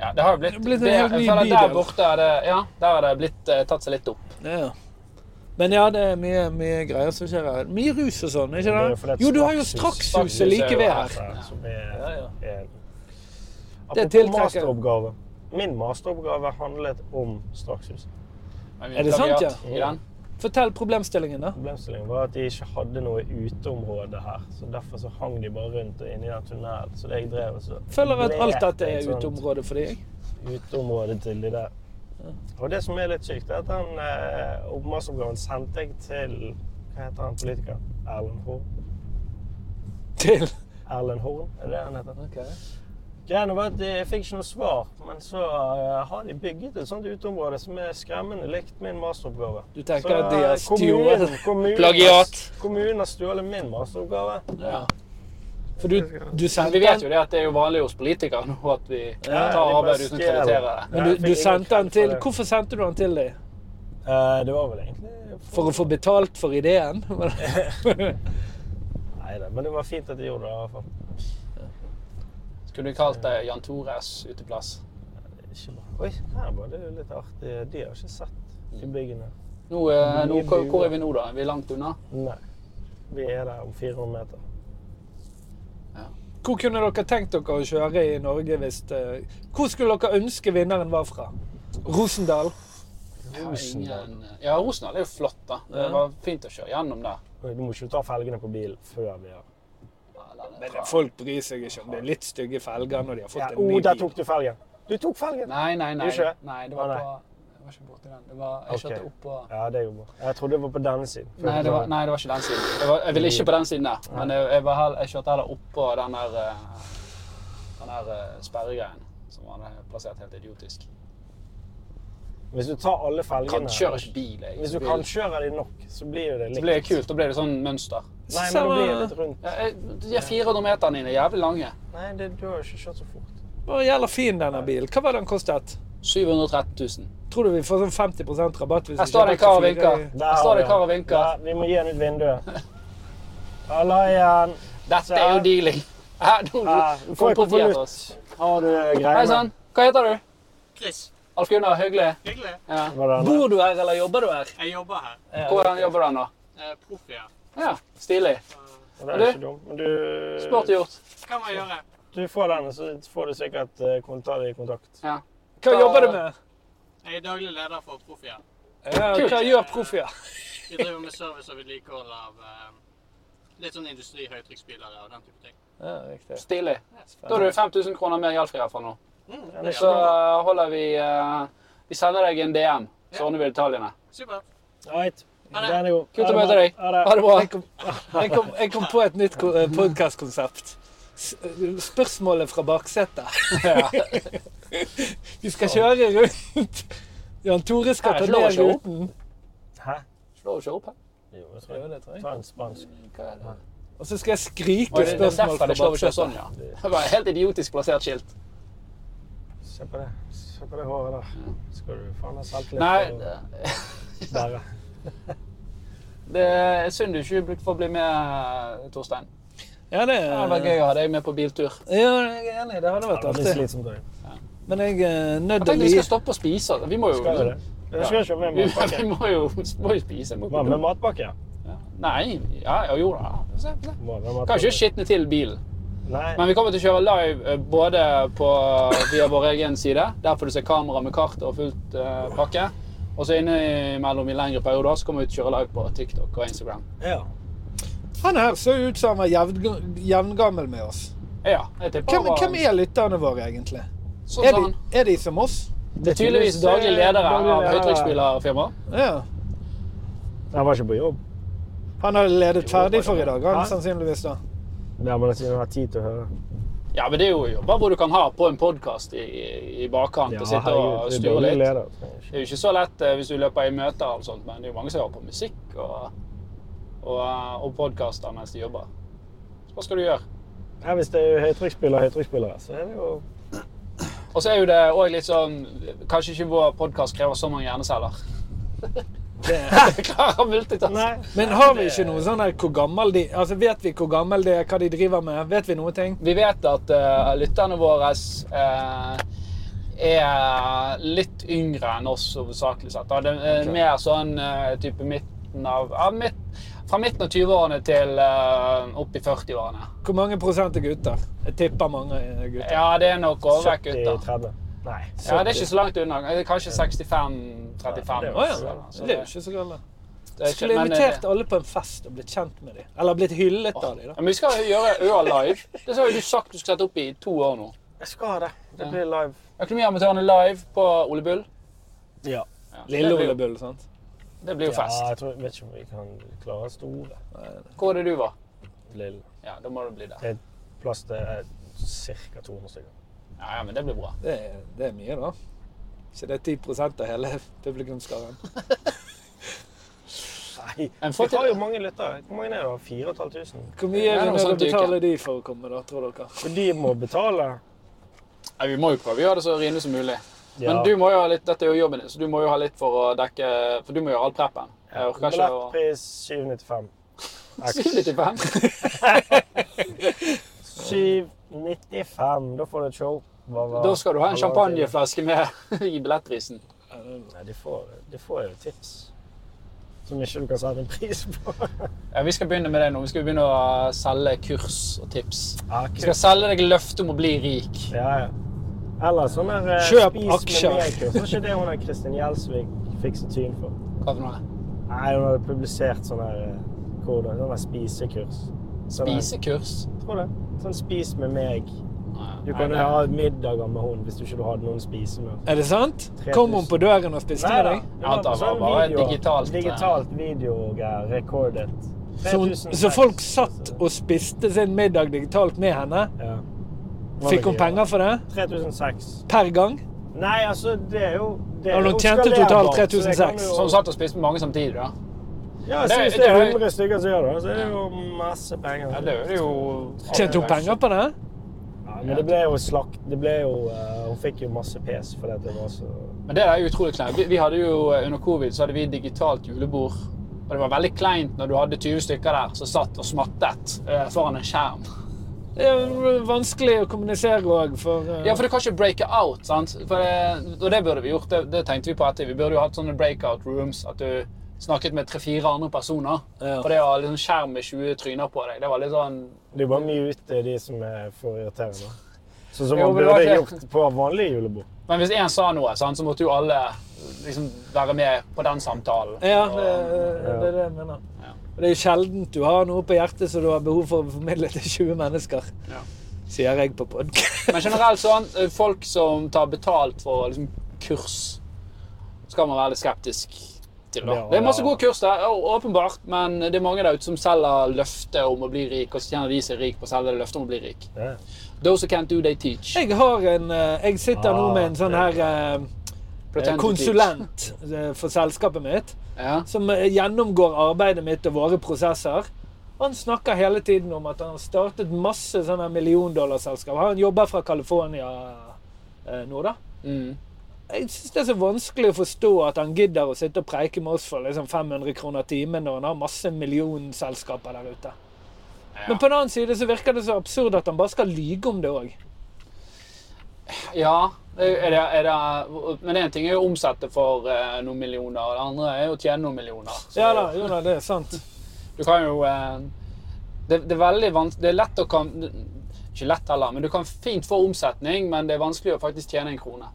S2: Ja, det har jo blitt,
S4: Det er blitt
S2: det,
S4: en helt
S2: jeg
S4: ny
S2: føler
S4: bydel.
S2: Der borte er det, ja, der har det blitt eh, tatt seg litt opp.
S4: Ja. Men ja, det er mye, mye greier som skjer her. Mye rus og sånn,
S3: Det
S4: ikke
S3: er jo
S4: det?
S3: fordi at
S4: Jo, du har jo
S3: strakshuset-
S4: Strakshuset like ved her.
S3: Ja, som er,
S4: Ja,
S3: er
S4: Det
S3: Apropos
S4: tiltrekker-
S3: masteroppgave. Min masteroppgave handlet om Strakshuset.
S2: Men vi
S4: Er det sant,
S2: plagiat
S4: ja?
S2: I den.
S4: Fortell problemstillingen, da.
S3: Problemstillingen var at de ikke hadde noe uteområde her. så Derfor så hang de bare rundt og inni den tunnelen. Så det jeg drev og så
S4: Føler at
S3: ble
S4: alt dette
S3: et
S4: er
S3: sånt
S4: uteområde for deg.
S3: Uteområde til de der. Og det som er litt sykt, er at den eh, masteroppgaven sendte jeg til Hva heter han politikeren? Erlend Horn?
S4: Til.
S3: Erlend Horn, er det det han heter? Greiene var at jeg fikk ikke noe svar, men så eh, har de bygget et sånt uteområde som er skremmende likt min masteroppgave.
S4: Du tenker
S3: Så,
S4: at de har
S3: eh, kommunen-
S4: stjålet?
S3: kommunen-
S2: Plagiat.
S3: Kommunen har stjålet min masteroppgave.
S2: Ja.
S4: For du, du
S2: Men vi
S4: sendte
S2: vet jo
S4: den,
S2: det at det er jo vanlig hos politikere nå at vi
S3: Ja,
S2: tar
S3: de bare
S2: arbeid uten å
S3: stjeler.
S2: kvittere det.
S4: men
S3: Ja,
S4: du,
S3: jeg
S4: du
S3: fikk ingen
S4: sendte den
S3: krem
S4: til
S3: for det.
S4: Hvorfor sendte du den til dem?
S3: Eh, det var vel egentlig
S4: For å få betalt for ideen?
S3: Nei da, men det var fint at de gjorde det. i hvert fall.
S2: Skulle du kalt det Jan Tores uteplass?
S3: Ikke bra. Oi, her var det jo litt artig. De har ikke sett de byggene.
S2: Nå, eh, nå, hvor hvor er vi nå, da? Er vi langt unna?
S3: Nei. Vi er der om 400 meter.
S4: Hvor kunne dere tenkt dere å kjøre i Norge hvis eh, Hvor skulle dere ønske vinneren var fra? Rosendal?
S2: Ja, ingen, eh, ja, Rosendal er jo flott, da. Det
S4: Ja.
S2: var fint å kjøre gjennom der.
S3: Oi, Du må ikke ta felgene på bilen før vi har
S4: Men folk bryr seg ikke om det er litt stygge felger når de har fått
S3: ja,
S4: en
S3: oh,
S4: ny
S3: der
S4: bil.
S3: tok du felgen! Du tok felgen!
S2: Nei, nei, nei.
S3: Ikke?
S2: nei det var
S3: Å, nei.
S2: på Jeg var ikke borti den. Det var, jeg kjørte
S3: Ok.
S2: opp på
S3: Ja, det er jo bra. Jeg trodde det var på denne siden.
S2: Nei det, var, nei, det var ikke den siden. Jeg, var, jeg ville ikke på den siden der. Men jeg, jeg, var hell- jeg kjørte heller opp på den der, eh, den der eh, sperregreien som var eh, plassert helt idiotisk.
S3: Hvis du tar alle felgene
S2: Kan kjøre ikke bil, jeg. Så
S3: Hvis du
S2: blir-
S3: kan kjøre de nok, så blir jo det
S2: så
S3: likt.
S2: blir det kult. Da blir det sånn mønster.
S3: Nei, men det blir litt rundt.
S2: Ja, jeg, de er 400 meterne dine er jævlig lange.
S3: Nei, det, du har jo ikke kjørt så fort.
S4: Å, jævla fin denne bilen. Hva var den kostet?
S2: 713 000.
S4: Tror du vi får sånn 50 rabatt? hvis
S2: Her
S4: vi
S2: står det en
S4: kjøper
S2: kar og
S4: fire
S2: vinker.
S4: i-
S2: Her står det en kar og vinker.
S3: Der, vi må gi den ut vinduet. Halla igjen.
S2: Dette er jo dealing. Her, nå
S3: Ja, du får
S2: får
S3: jo
S2: politiet etter
S3: konvolutt.
S2: oss.
S3: Har du
S2: Hei
S3: greiene?
S2: sann, hva heter du?
S7: Chris.
S2: Alf Gunnar, hyggelig.
S7: Hyggelig.
S2: Ja.
S3: Var det han der?
S4: Bor du her, eller jobber du her?
S7: Jeg jobber her.
S2: Hvordan jobber den, da?
S7: Eh, Proff jeg er.
S2: Ja, Stilig.
S3: Det er jo ikke dumt. Men du
S2: Smart gjort.
S7: Hva må jeg gjøre?
S3: Du får den, så får du sikkert eh, kont- ta deg i kontakt.
S4: Hva jobber du med?
S7: Jeg er daglig leder for Proffia.
S4: Ja,
S2: Kult.
S4: hva gjør Proffia?
S7: Vi driver med service og vedlikehold av eh, litt sånn industri, høytrykksspillere og den type ting.
S4: Ja, riktig.
S2: Stilig. Da har du 5000 kroner mer gjeldfri herfra nå.
S3: Ja, det er
S2: Så
S3: ikke dumt.
S2: eh, holder vi eh, Vi sender deg en DM, så ordner vi detaljene.
S7: Supert.
S3: Right.
S7: Ha det.
S3: Den er god.
S2: Kult å
S3: Ha det
S2: møte
S3: bra.
S2: deg.
S3: Ha
S2: Ha det bra.
S4: Jeg kom, jeg kom, jeg kom på et nytt ko- eh, podcastkonsept. S- eh, Spørsmålet fra baksetet. Vi skal kjøre rundt. Jan Tore skal
S2: Her
S4: ta
S2: er lov å
S4: ned
S2: kjøre opp.
S4: ruten.
S3: Hæ?
S2: Slår du ikke opp her?
S3: Jo, jeg tror jeg. Ta en spansk.
S2: Hva er det?
S4: Og så skal jeg
S2: Oi,
S4: skrike
S2: det, det er
S4: spørsmål
S2: derfor
S4: fra
S2: det slår ikke sånn,
S4: baksetet.
S2: ja. Det var et helt idiotisk plassert skilt.
S3: Se på det. Se på det håret der. Skal du faen ha selvtillit
S2: Nei,
S3: til å
S2: det
S3: bære?
S2: det er synd du ikke får bli med, Torstein.
S4: Ja, det
S2: Det hadde vært gøy å ha deg med på biltur.
S4: Ja, jeg er enig. Det hadde
S3: Ja,
S4: vært
S3: Det blir
S4: artig.
S3: slitsomt òg.
S4: Men jeg er nødt
S2: Jeg
S4: til å
S2: tenkte vi
S4: gi
S2: skal stoppe å spise. altså. Vi må jo
S3: Skal vi det? Jeg skal ikke ha med
S2: Vi, vi
S3: matpakke.
S2: må jo, må jo spise. Må
S3: Hva med matpakke?
S2: Nei, ja, ja, jo da. Se, se.
S3: Må ha
S2: Kan
S3: med
S2: ikke
S3: matpakke.
S2: skitne til bilen.
S3: Nei.
S2: Men vi kommer til å kjøre live eh, både på, via vår egen side, der får du se kamera med kart og fullt eh, pakke. Og så innimellom i lengre perioder så kommer vi til å kjøre live på TikTok og Instagram.
S3: Ja.
S4: Han her så ut som han var jevn- jevngammel med oss.
S2: Ja, jeg tipper
S4: Hvem,
S2: han var-
S4: hvem er lytterne våre, egentlig?
S2: Sånn
S4: Er
S2: som
S4: de,
S2: han.
S4: er de som oss?
S2: Det er tydeligvis daglig ledere
S3: Daglig
S2: av
S3: ledere.
S2: høytrykksspillerfirmaet.
S4: Ja.
S3: Jeg var ikke på jobb.
S4: Han hadde ledet ferdig for i dag, han sannsynligvis. da.
S3: Ja, men jeg har tid til å høre.
S2: Ja, men det er jo jobber hvor du kan ha på en podkast i, i bakkant og sitte og
S3: det er
S2: styre
S3: dårlig
S2: litt.
S3: leder.
S2: Det er jo ikke så lett eh, hvis du løper i møter, og alt sånt, men det er jo mange som hører på musikk og, og, eh, og podkaster mens de jobber. Så hva skal du gjøre?
S3: Ja, hvis det er høytrykksspiller, høytrykksspillere, så er det jo
S2: Og så er jo det òg litt sånn Kanskje ikke vår podkast krever så mange hjerneceller. Det klarer multitask.
S3: Nei.
S4: Men har vi ikke noe sånn her hvor gammel de Altså, Vet vi hvor gammel de er, hva de driver med? Vet vi noe ting?
S2: Vi vet at eh, lytterne våre eh, er litt yngre enn oss hovedsakelig sett. da. Det er mer sånn eh, type midten av ja, midt, Fra midten av 20-årene til eh, opp i 40-årene.
S4: Hvor mange prosent er gutter? Jeg tipper mange er gutter.
S2: Ja, det er nok overvekk gutter.
S3: 70-30. Nei.
S2: Ja, det er ikke så langt unna. Eh, Kanskje 65-35.
S3: Ja,
S4: Å ja. Så det er jo ikke så galt.
S2: Det er ikke-
S4: Skulle
S2: men, eh,
S4: invitert alle på en fest og blitt kjent med dem. Eller blitt hyllet av dem.
S2: Ja, men vi skal gjøre Øa live. Det har jo du sagt du skulle sette opp i to år nå.
S3: Jeg skal ha det. Det blir live.
S2: Økonomiamatørene live på Ole Bull.
S3: Ja.
S2: Ja, så
S4: Lille
S2: det blir jo-
S4: Ole Bull, sant?
S2: Det blir jo fest.
S3: Ja, jeg tror, vet ikke om vi kan klare store.
S2: Hvor er det du var?
S3: Lille.
S2: Ja, da må du bli der.
S3: Det er plass til eh, cirka 200 stykker.
S2: Ja, ja, men det blir bra.
S4: Det er, det er mye, da. Så det er 10 av hele publikumsskaren.
S3: Nei.
S2: Men få
S3: Vi
S2: til-
S3: har jo mange lyttere. Hvor mange er det? 4500?
S4: Hvor mye er
S2: Det er noe
S4: vi nødt til å
S2: sånt i
S4: betale de for å komme, da, tror dere?
S3: For de må betale.
S2: Nei, vi må jo prøve å gjøre det så rimelig som mulig.
S3: Ja.
S2: Men du må jo ha litt, dette er jo jobben din, så du må jo ha litt for å dekke For du må gjøre all preppen. Jeg orker ikke å
S3: Billettpris 795.
S2: 795.
S3: 795, da får du et show. Hva var-
S2: Da skal du ha en
S3: hva var det?
S2: champagneflaske med i billettprisen.
S3: Nei, de får, de får jo tips. Som ikke du kan sette en pris på.
S2: Ja, vi skal begynne med det nå. Vi skal begynne å selge kurs og tips.
S3: Ja,
S2: Vi skal selge deg løfte om å bli rik.
S3: ja, ja. Eller sånn her eh,
S4: Kjøp
S3: spis
S4: aksjer.
S3: med meg-kurs. Var ikke det hun der Kristin Gjelsvik fikk så tyn for?
S2: Hva for noe?
S3: Nei, hun hadde publisert sånn her eh, hvordan, sånn her spisekurs. Sånn her-
S2: Spisekurs?
S3: Tror det. Sånn spis med meg. Du
S2: Nei,
S3: kan
S2: det-
S3: jo ha middager med hun hvis du ikke hadde noen å spise med.
S4: Er det sant?
S3: 3000.
S4: Kom hun på døren og spiste med
S3: Neida.
S4: deg?
S3: Det var
S2: Antar det var
S3: sånn
S2: bare
S3: video-
S2: digitalt, eh.
S3: Digitalt videogreier. Recordet.
S4: Så, hun- så folk satt og spiste sin middag digitalt med henne?
S3: ja.
S4: Fikk hun penger for det?
S3: 3006.
S4: Per gang?
S3: Nei, altså, det er jo det er jo
S4: Ja, de tjente
S3: skalerbart,
S4: totalt Sånn
S3: så det kan
S4: 3600.
S3: jo-
S2: Som satt og spiste med mange samtidig, da.
S3: Ja, så
S2: Det-
S3: hvis det er
S2: det er-
S3: 100 stykker som gjør det, så er det jo masse penger.
S2: Ja, det er det jo
S4: Tjente hun penger på det?
S3: Ja, men det ble jo slakt Det ble jo eh, Hun fikk jo masse pes fordi at det var så
S2: Men det der er jo utrolig kleint. Vi, vi hadde jo eh, Under covid så hadde vi digitalt julebord. Og det var veldig kleint når du hadde 20 stykker der som satt og smattet eh, foran en skjerm.
S4: Det er jo vanskelig å kommunisere òg, for eh,
S2: Ja, for du kan ikke breake out, sant? For det, og det burde vi gjort. Det, det tenkte vi på etter. Vi burde jo hatt sånne breakout rooms. At du snakket med tre-fire andre personer.
S4: Ja.
S2: Og det å ha liksom skjerm med 20 tryner på deg, det var litt sånn
S3: Det er bare mute de som er for irriterende. Sånn som
S2: Jo,
S3: man
S2: men det var
S3: burde
S2: ikke-
S3: gjort på vanlige julebord.
S2: Men hvis én sa noe, sant, så måtte jo alle liksom være med på den samtalen.
S4: Ja, det, det er det jeg mener. Og Det er jo sjeldent du har noe på hjertet som du har behov for å formidle til 20 mennesker.
S2: Ja.
S4: Sier jeg på podkast.
S2: Men generelt sånn, eh, folk som tar betalt for liksom, kurs, skal man være litt skeptisk til. Da.
S3: Ja,
S2: det er masse
S3: ja.
S2: gode kurs der, å- åpenbart, men det er mange der ute som selger løftet om å bli rik, og så tjener de seg rik på å selge løftet om å bli rik.
S3: Ja.
S2: Those who can't do, they teach.
S4: Jeg har en eh, Jeg sitter nå med en sånn her eh,
S2: Ah, Pretend to
S4: konsulent eh, for selskapet mitt,
S2: teach. Ja.
S4: som eh, gjennomgår arbeidet mitt og våre prosesser. Han snakker hele tiden om at han har startet masse sånne milliondollarselskap. Han jobber fra California eh, nå, da.
S2: Mm.
S4: Jeg synes det er så vanskelig å forstå at han gidder å sitte og preike med oss for liksom 500 kroner timen når han har masse millionselskaper der ute. Men på den annen side så virker det så absurd at han bare skal lyge om det òg.
S2: Ja, er det, er det, men én ting er jo å omsette for eh, noen millioner, og det andre er jo å tjene noen millioner. Så-
S4: Ja da, jo da, det er sant.
S2: Du kan jo eh, det, det er veldig vanskelig Det er lett å kan Ikke lett heller, men du kan fint få omsetning, men det er vanskelig å faktisk tjene en krone.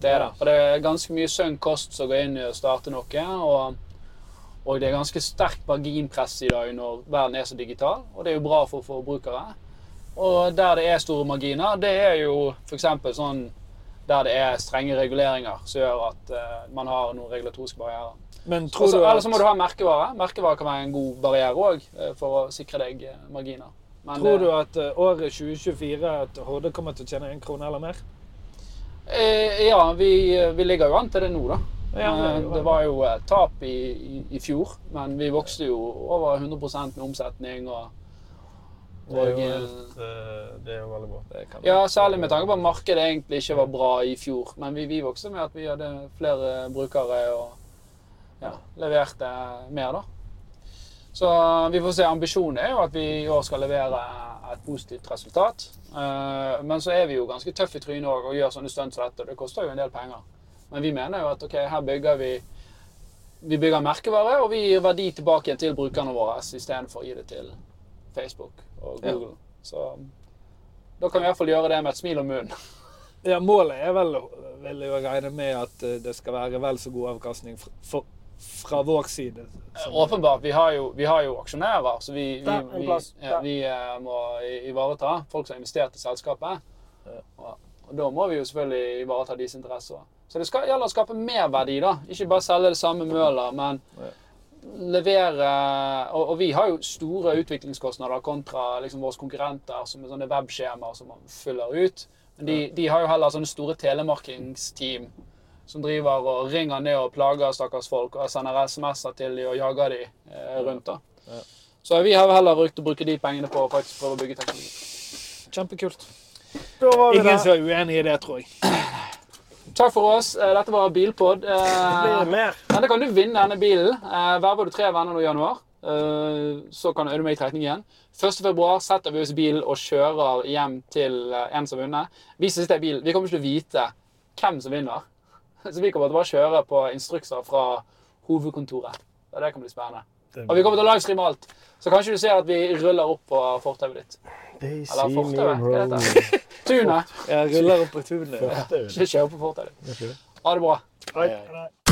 S2: Det er det. For det er ganske mye sunn kost som går inn i å starte noe. Og, og det er ganske sterkt marginpress i dag når verden er så digital, og det er jo bra for forbrukere. Og der det er store marginer, det er jo f.eks. sånn der det er strenge reguleringer som gjør at eh, man har noen regulatoriske barrierer.
S4: Men tror
S2: Også,
S4: du
S2: eller så må du
S4: at,
S2: ha merkevare. Merkevare kan være en god barriere òg, for å sikre deg eh, marginer. Men
S4: tror
S2: det-
S4: du at eh, året 2024 at Horde kommer til å tjene en krone eller mer?
S2: Eh, ja, vi, vi ligger jo an til det nå, da.
S4: Ja,
S2: Eh,
S4: det-
S2: det var jo eh, tap i, i, i fjor, men vi vokste jo over 100 med omsetning. og,
S5: Det er
S2: og
S5: jo
S2: eh,
S5: helt, eh, det er jo veldig bra.
S4: Det kan
S2: Ja, særlig med tanke på at markedet egentlig ikke var bra i fjor. Men vi, vi vokste med at vi hadde flere brukere og ja, leverte mer, da. Så vi får se. Ambisjonen er jo at vi i år skal levere et positivt resultat. Eh, Men så er vi jo ganske tøffe i trynet òg og gjør sånne stunt som dette. og Det koster jo en del penger. Men vi mener jo at ok, her bygger vi vi bygger merkevare, og vi gir verdi tilbake igjen til brukerne våre istedenfor å gi det til Facebook og
S4: Ja.
S2: Google. Så da kan vi i hvert fall gjøre det med et smil om munnen.
S4: Ja, målet er vel, vil jeg regne med, at eh, det skal være vel så god avkastning fra, for, fra vår side. som-
S2: Åpenbart. Vi har jo, vi har jo aksjonærer, så vi, vi,
S3: Der, en
S2: vi,
S3: plass.
S2: ja,
S3: Der.
S2: vi eh, må i- ivareta folk som har investert i selskapet. Og, og da må vi jo selvfølgelig ivareta deres interesser. Så det skal, gjelder å skape merverdi, da. Ikke bare selge det samme mølet, men levere og, og vi har jo store utviklingskostnader kontra liksom, våre konkurrenter som er sånne webskjemaer som man fyller ut. Men de, de har jo heller sånne store telemarkedsteam som driver og ringer ned og plager stakkars folk og sender SMS-er til de og jager de eh, rundt. da. Så vi har heller brukt å bruke de pengene på å faktisk prøve å bygge teknologi.
S4: Kjempekult.
S3: Da var vi
S4: Ingen
S3: der.
S4: som er uenig i det, tror jeg.
S2: Takk for oss. Eh, Dette var Bilpod.
S3: Blir
S2: Eh,
S3: det mer?
S2: Denne kan du vinne denne bilen. Eh, Verver du tre venner nå i januar, eh, så kan du øyne meg i trekning igjen. 1. februar setter vi oss i bilen og kjører hjem til eh, en som vinner. Vi som sitter i bilen, vi kommer ikke til å vite hvem som vinner. Så vi kommer til å bare kjøre på instrukser fra hovedkontoret. Og det kan bli spennende. Og vi kommer til å livestreame alt. Så kanskje du ser at vi ruller opp på fortauet ditt.
S3: They
S2: Eller fortauet. Hva heter det? Tunet.
S4: Jeg ruller opp på tunet.
S2: Ikke kjør på fortauet. Ha det bra.
S3: Nei, nei.